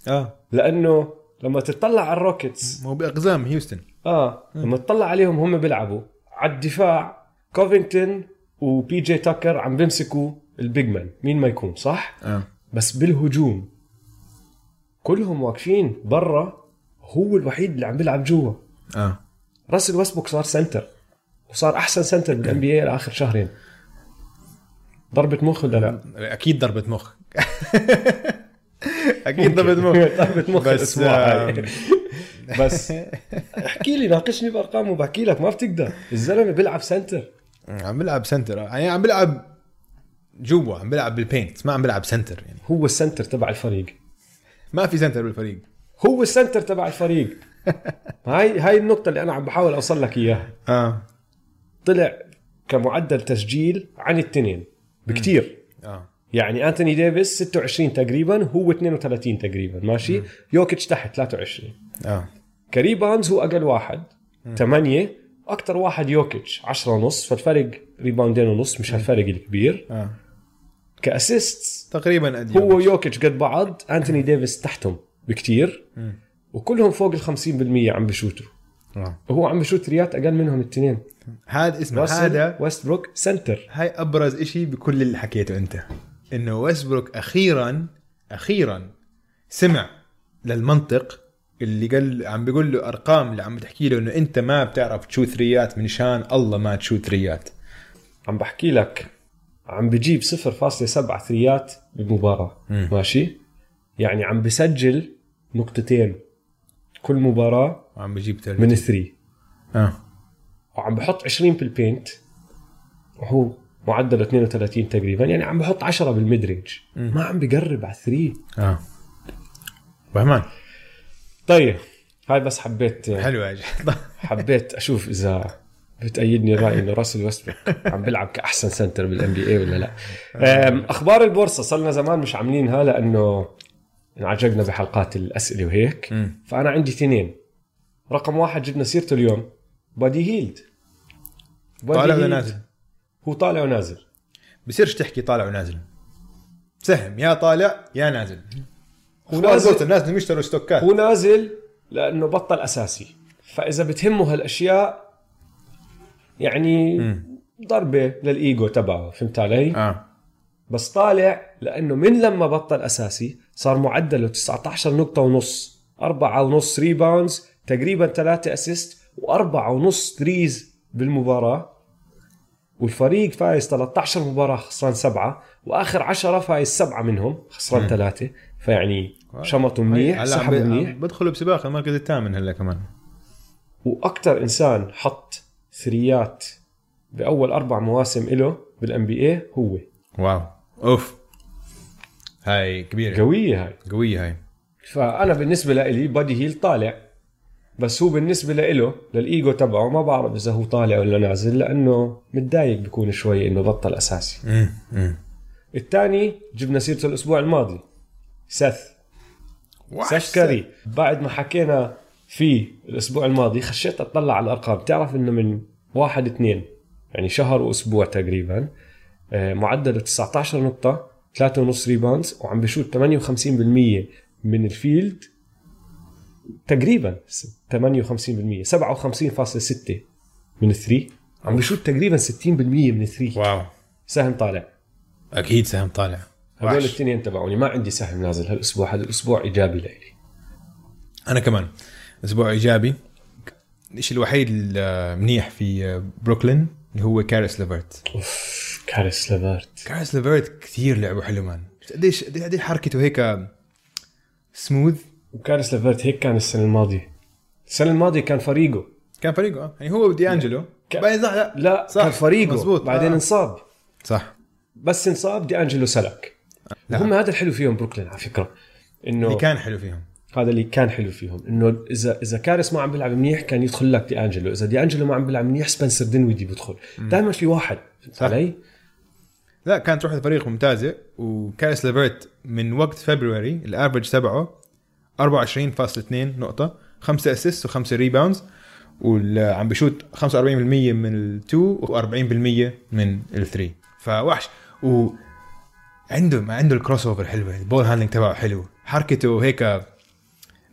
Speaker 2: اه
Speaker 1: لانه لما تطلع على الروكيتس
Speaker 2: مو باقزام هيوستن
Speaker 1: اه لما تطلع عليهم هم بيلعبوا على الدفاع كوفينغتون وبي جي تاكر عم بيمسكوا البيج مان مين ما يكون صح
Speaker 2: اه
Speaker 1: بس بالهجوم كلهم واقفين برا هو الوحيد اللي عم بيلعب جوا
Speaker 2: اه
Speaker 1: راسل ويسبوك صار سنتر وصار احسن سنتر بالان بي اي لاخر شهرين ضربة مخ ولا لا؟
Speaker 2: اكيد ضربه مخ اكيد ضربه مخ
Speaker 1: ضربة مخ بس
Speaker 2: بس آه،
Speaker 1: بس احكي لي ناقشني بارقام وبحكي لك ما بتقدر الزلمه بيلعب سنتر
Speaker 2: عم بلعب سنتر آه. يعني عم بلعب جوا عم بلعب بالبينت ما عم بلعب سنتر يعني
Speaker 1: هو السنتر تبع الفريق
Speaker 2: ما في سنتر بالفريق
Speaker 1: هو السنتر تبع الفريق هاي هاي النقطة اللي أنا عم بحاول أوصل لك إياها آه.
Speaker 2: اه
Speaker 1: طلع كمعدل تسجيل عن التنين بكتير
Speaker 2: اه
Speaker 1: يعني أنتوني ديفيس 26 تقريبا هو 32 تقريبا ماشي يوكيتش تحت 23
Speaker 2: اه
Speaker 1: كريباوندز هو أقل واحد 8 أكثر واحد يوكيتش 10 ونص فالفرق ريباوندين ونص مش هالفرق الكبير
Speaker 2: اه
Speaker 1: كأسيستس
Speaker 2: تقريبا قد
Speaker 1: آه. هو يوكيتش قد بعض أنتوني ديفيس تحتهم بكتير وكلهم فوق ال 50% عم بشوتوا
Speaker 2: آه.
Speaker 1: هو عم بشوت ريات اقل منهم الاثنين
Speaker 2: هذا اسمه
Speaker 1: هذا
Speaker 2: هذا
Speaker 1: ويستبروك سنتر
Speaker 2: هاي ابرز إشي بكل اللي حكيته انت انه ويسبروك اخيرا اخيرا سمع للمنطق اللي قال عم بيقول له ارقام اللي عم بتحكي له انه انت ما بتعرف تشوت ثريات من شان الله ما تشوت ثريات
Speaker 1: عم بحكي لك عم بجيب 0.7 ثريات بمباراه
Speaker 2: مم.
Speaker 1: ماشي يعني عم بسجل نقطتين كل مباراه
Speaker 2: وعم بجيب ثري
Speaker 1: من الثري
Speaker 2: اه
Speaker 1: وعم بحط 20 بالبينت وهو معدله 32 تقريبا يعني عم بحط 10 بالميد رينج
Speaker 2: مم.
Speaker 1: ما عم بقرب على الثري
Speaker 2: اه فهمان
Speaker 1: طيب هاي بس حبيت
Speaker 2: حلوة يا جماعة.
Speaker 1: حبيت اشوف اذا بتأيدني الرأي انه راسل ويستبروك عم بيلعب كأحسن سنتر بالان بي اي ولا لا أم، اخبار البورصة صار لنا زمان مش عاملينها لانه انعجقنا بحلقات الاسئلة وهيك فانا عندي اثنين رقم واحد جبنا سيرته اليوم بادي هيلد بادي
Speaker 2: طالع ولا
Speaker 1: هيلد.
Speaker 2: نازل
Speaker 1: هو طالع ونازل
Speaker 2: بصيرش تحكي طالع ونازل سهم يا طالع يا نازل هو
Speaker 1: نازل.
Speaker 2: نازل الناس بدهم يشتروا ستوكات
Speaker 1: هو نازل لانه بطل اساسي فاذا بتهمه هالاشياء يعني ضربة للايجو تبعه فهمت علي؟
Speaker 2: اه
Speaker 1: بس طالع لانه من لما بطل اساسي صار معدله 19 نقطة ونص أربعة ونص ريباوندز تقريبا ثلاثة اسيست وأربعة ونص ثريز بالمباراة والفريق فايز 13 مباراة خسران سبعة وآخر عشرة فايز سبعة منهم خسران ثلاثة فيعني شمطوا منيح
Speaker 2: هلا عم
Speaker 1: سحبوا
Speaker 2: بي- عم
Speaker 1: منيح
Speaker 2: بدخلوا بسباق المركز الثامن هلا كمان
Speaker 1: وأكتر إنسان حط ثريات بأول أربع مواسم إله بالان بي اي هو
Speaker 2: واو اوف هاي كبيرة
Speaker 1: قوية هاي
Speaker 2: قوية هاي
Speaker 1: فانا بالنسبه لإلي بادي هيل طالع بس هو بالنسبه لإله للايجو تبعه ما بعرف اذا هو طالع ولا نازل لانه متضايق بكون شوي انه بطل اساسي الثاني جبنا سيرته الاسبوع الماضي سث سث كاري بعد ما حكينا فيه الاسبوع الماضي خشيت اطلع على الارقام بتعرف انه من واحد اثنين يعني شهر واسبوع تقريبا آه، معدله 19 نقطه 3.5 ريباوندز وعم بشوت 58% من الفيلد تقريبا س- 58% 57.6 من الثري عم بشوت تقريبا 60% من الثري
Speaker 2: واو
Speaker 1: سهم طالع
Speaker 2: اكيد سهم طالع
Speaker 1: هذول
Speaker 2: وحش.
Speaker 1: الاثنين تبعوني ما عندي سهم نازل هالاسبوع هذا الاسبوع ايجابي لإلي
Speaker 2: انا كمان اسبوع ايجابي الشيء الوحيد المنيح في بروكلين اللي هو كاريس ليفرت
Speaker 1: اوف كارس لافارت
Speaker 2: كاريس ليفرت كثير لعبه حلو مان قديش قديش قديش حركته هيك سموث
Speaker 1: وكارس لافيرت هيك كان السنه الماضيه السنه الماضيه كان فريقه
Speaker 2: كان فريقه آه. يعني هو ودي انجلو
Speaker 1: ك-
Speaker 2: بعدين صح لا
Speaker 1: لا
Speaker 2: صح،
Speaker 1: صح كان فريقه
Speaker 2: مزبوط.
Speaker 1: مزبوط. بعدين
Speaker 2: آه.
Speaker 1: انصاب
Speaker 2: صح
Speaker 1: بس انصاب دي انجلو سلك
Speaker 2: نعم.
Speaker 1: هم هذا الحلو فيهم بروكلين على فكره
Speaker 2: اللي
Speaker 1: انه
Speaker 2: كان حلو فيهم
Speaker 1: هذا اللي كان حلو فيهم انه اذا اذا كارس ما عم بيلعب منيح كان يدخل لك دي انجلو اذا دي انجلو ما عم بيلعب منيح سبنسر دينويدي بيدخل دائما في واحد فهمت
Speaker 2: صح.
Speaker 1: علي
Speaker 2: لا كانت روح الفريق ممتازه وكاريس ليفرت من وقت فبراير الافرج تبعه 24.2 نقطه 5 اسيست و5 ريباوندز وعم بشوت 45% من التو و40% من الثري فوحش و يعني عنده ما عنده الكروس اوفر حلوه البول هاندلنج تبعه حلو حركته هيك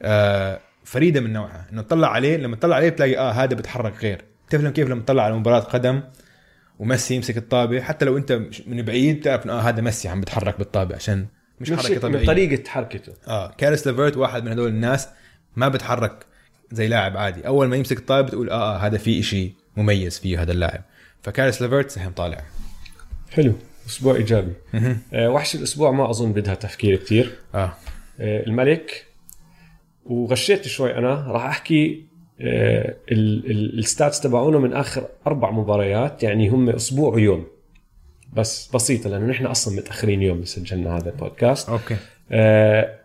Speaker 2: آه فريده من نوعها انه تطلع عليه لما تطلع عليه بتلاقي اه هذا بتحرك غير تفهم كيف لما تطلع على مباراه قدم وميسي يمسك الطابه حتى لو انت مش- من بعيد بتعرف انه اه هذا ميسي عم بتحرك بالطابه عشان مش
Speaker 1: مش
Speaker 2: حركه
Speaker 1: هيك، من
Speaker 2: طبيعيه
Speaker 1: طريقه حركته
Speaker 2: اه كارس ليفرت واحد من هدول الناس ما بتحرك زي لاعب عادي اول ما يمسك الطابه بتقول اه, آه هذا في إشي مميز فيه هذا اللاعب فكارس ليفرت سهم طالع
Speaker 1: حلو اسبوع ايجابي آه، وحش الاسبوع ما اظن بدها تفكير كثير
Speaker 2: اه
Speaker 1: آه، الملك وغشيت شوي انا راح احكي آه، ال- ال- الستاتس تبعونه من اخر اربع مباريات يعني هم اسبوع ويوم بس بسيطه لانه نحن اصلا متاخرين يوم سجلنا هذا البودكاست
Speaker 2: اوكي
Speaker 1: آه،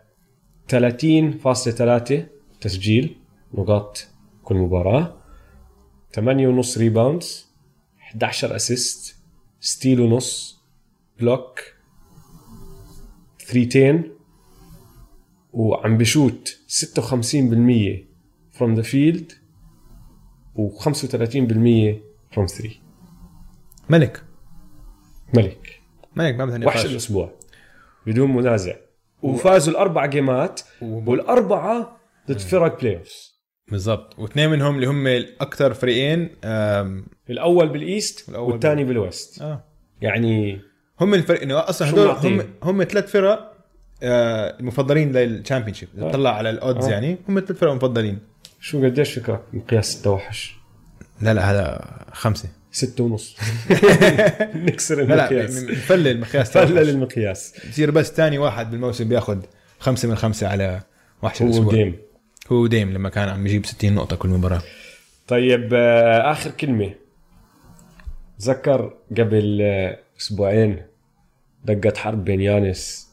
Speaker 1: 30.3 تسجيل نقاط كل مباراة 8.5 ريباوندز 11 اسيست ستيل ونص بلوك ثريتين وعم بشوت 56% from the field و35% from 3
Speaker 2: ملك
Speaker 1: ملك
Speaker 2: ملك ما بدها
Speaker 1: وحش
Speaker 2: نقاش
Speaker 1: الاسبوع بدون منازع وفازوا الاربع جيمات والاربعه ضد فرق بلاي اوف
Speaker 2: بالضبط واثنين منهم اللي هم اكثر فريقين آم،
Speaker 1: الاول بالايست
Speaker 2: الأول
Speaker 1: والثاني بالويست
Speaker 2: اه
Speaker 1: يعني
Speaker 2: هم الفرق انه اصلا
Speaker 1: شو
Speaker 2: هدول
Speaker 1: بنعطيه؟
Speaker 2: هم هم ثلاث فرق آه، المفضلين للتشامبيون شيب
Speaker 1: آه.
Speaker 2: اذا تطلع على الاودز
Speaker 1: آه.
Speaker 2: يعني هم ثلاث فرق مفضلين
Speaker 1: شو قديش فكرك مقياس التوحش
Speaker 2: لا لا هذا خمسه
Speaker 1: ستة ونص نكسر
Speaker 2: لا لا
Speaker 1: المقياس
Speaker 2: م- مفلل المقياس
Speaker 1: فلل المقياس
Speaker 2: بصير بس ثاني واحد بالموسم بياخذ خمسه من خمسه على وحش
Speaker 1: هو
Speaker 2: الاسبوع
Speaker 1: ديم
Speaker 2: هو ديم لما كان عم يجيب 60 نقطه كل مباراه
Speaker 1: طيب آه، اخر كلمه تذكر قبل آه، اسبوعين دقت حرب بين يانس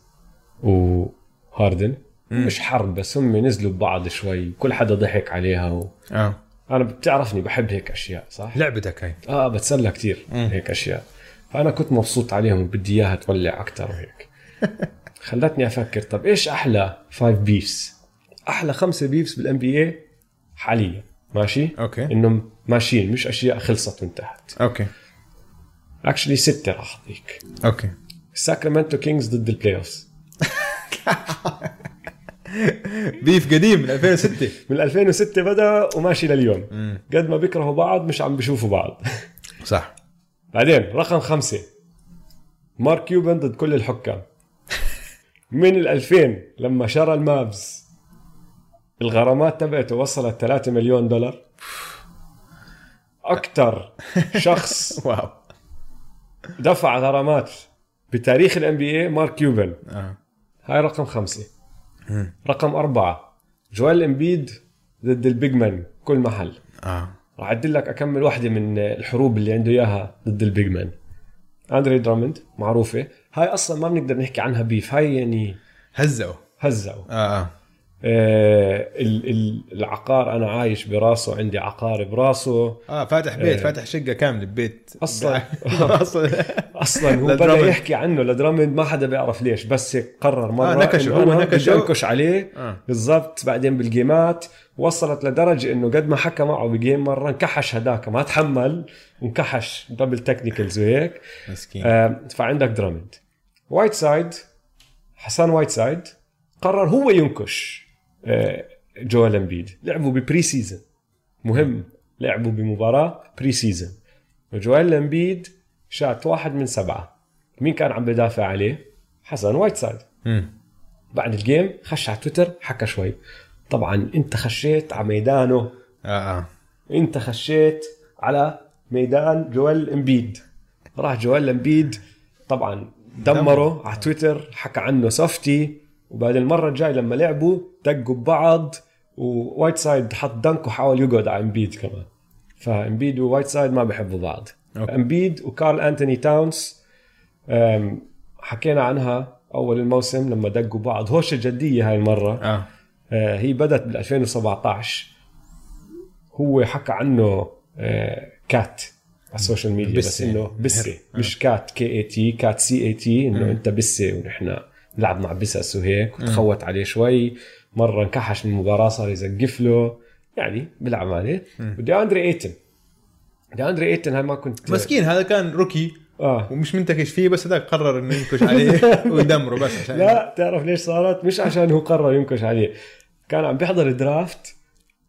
Speaker 1: وهاردن مش حرب بس هم نزلوا ببعض شوي كل حدا ضحك عليها و...
Speaker 2: اه
Speaker 1: انا بتعرفني بحب هيك اشياء صح
Speaker 2: لعبتك هاي
Speaker 1: اه بتسلى كثير هيك اشياء فانا كنت مبسوط عليهم وبدي اياها تولع اكثر وهيك خلتني افكر طب ايش احلى فايف بيفس احلى خمسه بيفس بالان بي اي حاليا ماشي
Speaker 2: أوكي.
Speaker 1: انهم ماشيين مش اشياء خلصت وانتهت
Speaker 2: اوكي
Speaker 1: اكشلي سته راح اعطيك
Speaker 2: اوكي
Speaker 1: الساكرامنتو كينجز ضد البلاي اوفز
Speaker 2: بيف قديم من 2006
Speaker 1: من 2006 بدا وماشي لليوم قد ما بيكرهوا بعض مش عم بيشوفوا بعض
Speaker 2: صح
Speaker 1: بعدين رقم خمسة مارك كيوبن ضد كل الحكام من ال 2000 لما شرى المابز الغرامات تبعته وصلت 3 مليون دولار أكثر شخص
Speaker 2: واو
Speaker 1: دفع غرامات بتاريخ الان بي اي مارك كيوبن
Speaker 2: آه.
Speaker 1: هاي رقم خمسة رقم أربعة جوال امبيد ضد البيج مان كل محل
Speaker 2: اه
Speaker 1: راح اعدل لك اكمل واحده من الحروب اللي عنده اياها ضد البيج مان اندري درامند معروفه هاي اصلا ما بنقدر نحكي عنها بيف هاي يعني
Speaker 2: هزقوا
Speaker 1: هزقوا
Speaker 2: اه اه
Speaker 1: آه ال- ال- العقار انا عايش براسه عندي عقار براسه
Speaker 2: اه فاتح بيت
Speaker 1: آه.
Speaker 2: فاتح شقه كامله ببيت
Speaker 1: أصلاً.
Speaker 2: اصلا
Speaker 1: اصلا هو بدا
Speaker 2: لدرامند.
Speaker 1: يحكي عنه لدرامند ما حدا بيعرف ليش بس هيك قرر مره
Speaker 2: آه، نكشه،
Speaker 1: إنه
Speaker 2: هو
Speaker 1: أنا
Speaker 2: نكشه.
Speaker 1: بدي انكش عليه
Speaker 2: آه.
Speaker 1: بالضبط بعدين بالجيمات وصلت لدرجه انه قد ما حكى معه بجيم مره انكحش هداك ما تحمل انكحش دبل تكنيكلز وهيك
Speaker 2: مسكين
Speaker 1: آه، فعندك درامند وايت سايد حسن وايت سايد قرر هو ينكش آه، جوال امبيد لعبوا ببري سيزن مهم لعبوا بمباراه بري سيزن وجوال امبيد شات واحد من سبعه مين كان عم بدافع عليه؟ حسن وايت سايد
Speaker 2: مم.
Speaker 1: بعد الجيم خش على تويتر حكى شوي طبعا انت خشيت على ميدانه آه،
Speaker 2: اه اه
Speaker 1: انت خشيت على ميدان جوال امبيد راح جوال امبيد طبعا دمره على تويتر حكى عنه سوفتي وبعد المره الجاي لما لعبوا دقوا ببعض ووايت سايد حط دنك وحاول يقعد على امبيد كمان فامبيد ووايت سايد ما بحبوا بعض
Speaker 2: أوكي.
Speaker 1: امبيد وكارل انتوني تاونز أم، حكينا عنها اول الموسم لما دقوا بعض هوشه جديه هاي المره
Speaker 2: اه
Speaker 1: آه، هي بدت بال 2017 هو حكى عنه آه، كات على السوشيال ميديا بس
Speaker 2: بسة.
Speaker 1: انه بسه مش كات كي اي تي كات سي اي تي انه انت بسه ونحن نلعب مع بسس وهيك وتخوت عليه شوي مره انكحش من المباراه صار يزقف له يعني بالعماله ودي اندري ايتن دي اندري ايتن هاي ما كنت
Speaker 2: مسكين هذا كان روكي
Speaker 1: اه
Speaker 2: ومش منتكش فيه بس هذاك قرر انه ينكش عليه ويدمره بس عشان
Speaker 1: لا تعرف ليش صارت مش عشان هو قرر ينكش عليه كان عم بيحضر درافت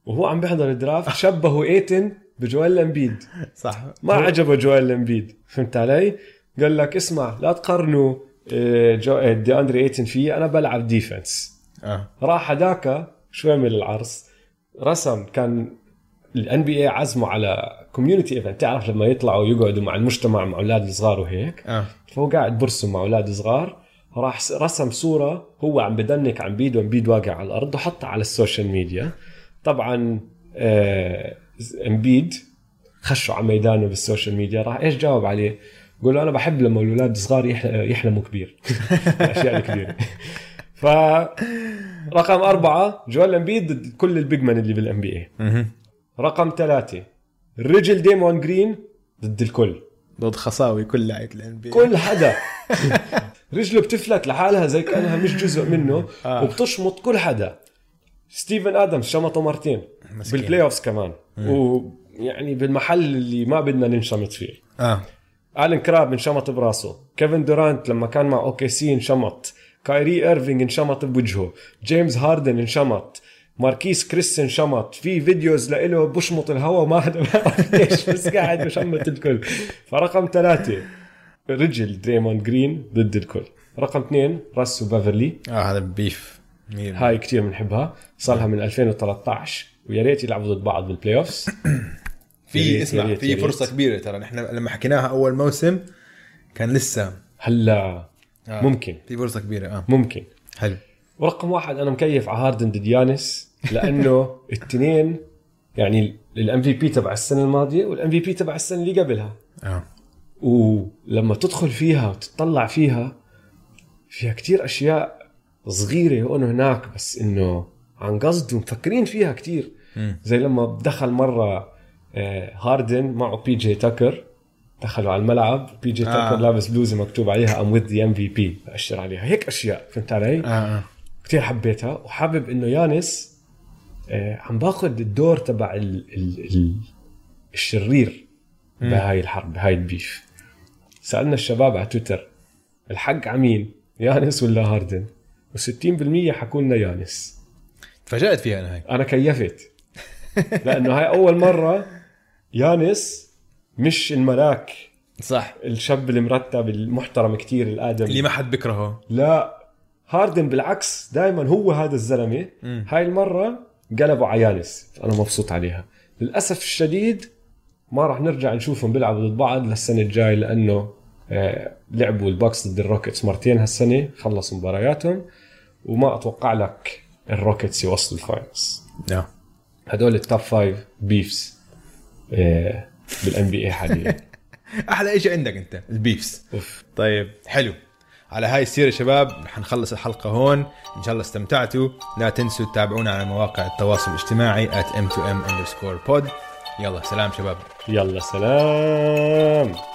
Speaker 1: وهو عم بيحضر درافت شبهوا ايتن بجوال امبيد
Speaker 2: صح
Speaker 1: ما عجبه جوال امبيد فهمت علي قال لك اسمع لا تقارنوا آه، جو... آه، دي اندري ايتن فيي انا بلعب ديفنس
Speaker 2: اه
Speaker 1: راح هداك شو عمل العرس رسم كان الان بي اي عزمه على كوميونتي ايفنت تعرف لما يطلعوا يقعدوا مع المجتمع مع اولاد الصغار وهيك
Speaker 2: اه
Speaker 1: فهو قاعد برسم مع اولاد صغار راح س- رسم صوره هو عم بدنك عن بيد وامبيد واقع على الارض وحطها على السوشيال ميديا طبعا آه، امبيد خشوا على ميدانه بالسوشيال ميديا راح ايش جاوب عليه؟ قول له انا بحب لما الاولاد الصغار يحل- يحلموا كبير الاشياء الكبيره ف رقم أربعة جوال امبيد ضد كل البيج مان اللي بالان بي اي
Speaker 2: مهم.
Speaker 1: رقم ثلاثة رجل ديمون جرين ضد الكل
Speaker 2: ضد خصاوي كل لعيبه الان بي
Speaker 1: كل حدا رجله بتفلت لحالها زي كانها مش جزء منه
Speaker 2: آه.
Speaker 1: وبتشمط كل حدا ستيفن ادمز شمطه مرتين
Speaker 2: مسكين.
Speaker 1: بالبلاي اوفز كمان ويعني بالمحل اللي ما بدنا ننشمط فيه
Speaker 2: اه
Speaker 1: الين كراب انشمط براسه كيفن دورانت لما كان مع اوكي سي انشمط كايري ايرفينج انشمط بوجهه جيمس هاردن انشمط ماركيس كريس انشمط في فيديوز لإله بشمط الهواء وما حدا بيعرف ليش بس قاعد بشمط الكل فرقم ثلاثة رجل دريموند جرين ضد الكل رقم اثنين راسو بافرلي
Speaker 2: اه هذا بيف مية
Speaker 1: هاي كتير بنحبها صار لها من 2013 ويا ريت يلعبوا ضد بعض بالبلاي اوفز يا ريت-
Speaker 2: في
Speaker 1: يا
Speaker 2: اسمع
Speaker 1: ريت-
Speaker 2: في
Speaker 1: يا ريت.
Speaker 2: فرصه كبيره ترى نحن لما حكيناها اول موسم كان لسه
Speaker 1: هلا
Speaker 2: آه.
Speaker 1: ممكن
Speaker 2: في فرصه كبيره اه
Speaker 1: ممكن
Speaker 2: حلو
Speaker 1: ورقم واحد انا مكيف على هاردن ضد يانس لانه التنين يعني الام في بي تبع السنه الماضيه والام في بي تبع السنه اللي قبلها
Speaker 2: اه
Speaker 1: ولما تدخل فيها وتطلع فيها فيها كتير اشياء صغيره هون وهناك بس انه عن قصد ومفكرين فيها كتير
Speaker 2: مم.
Speaker 1: زي لما دخل مره آه، هاردن معه بي جي تاكر دخلوا على الملعب بي جي
Speaker 2: آه.
Speaker 1: تاكر لابس بلوزه مكتوب عليها ام وذ ذا ام في بي بأشر عليها هيك اشياء فهمت علي؟
Speaker 2: اه اه
Speaker 1: كتير حبيتها وحابب انه يانس آه، عم باخذ الدور تبع ال ال ال الشرير
Speaker 2: مم.
Speaker 1: بهاي الحرب بهاي البيف سالنا الشباب على تويتر الحق عمين يانس ولا هاردن و60% حكوا لنا يانس
Speaker 2: تفاجات فيها انا هاي
Speaker 1: انا كيفت لانه هاي اول مره يانس مش الملاك
Speaker 2: صح
Speaker 1: الشاب المرتب المحترم كتير الادمي
Speaker 2: اللي ما حد بيكرهه
Speaker 1: لا هاردن بالعكس دائما هو هذا الزلمه
Speaker 2: مم.
Speaker 1: هاي المره قلبوا على يانس انا مبسوط عليها للاسف الشديد ما راح نرجع نشوفهم بيلعبوا ضد بعض للسنه الجاي لانه آه، لعبوا الباكس ضد الروكيتس مرتين هالسنه خلصوا مبارياتهم وما اتوقع لك الروكيتس يوصلوا الفاينلز
Speaker 2: نعم
Speaker 1: هدول التوب فايف بيفز آه، بالان بي اي حاليا
Speaker 2: احلى شيء عندك انت البيفس
Speaker 1: اوف
Speaker 2: طيب حلو على هاي السيره شباب حنخلص الحلقه هون ان شاء الله استمتعتوا لا تنسوا تتابعونا على مواقع التواصل الاجتماعي m2m underscore pod يلا سلام شباب
Speaker 1: يلا سلام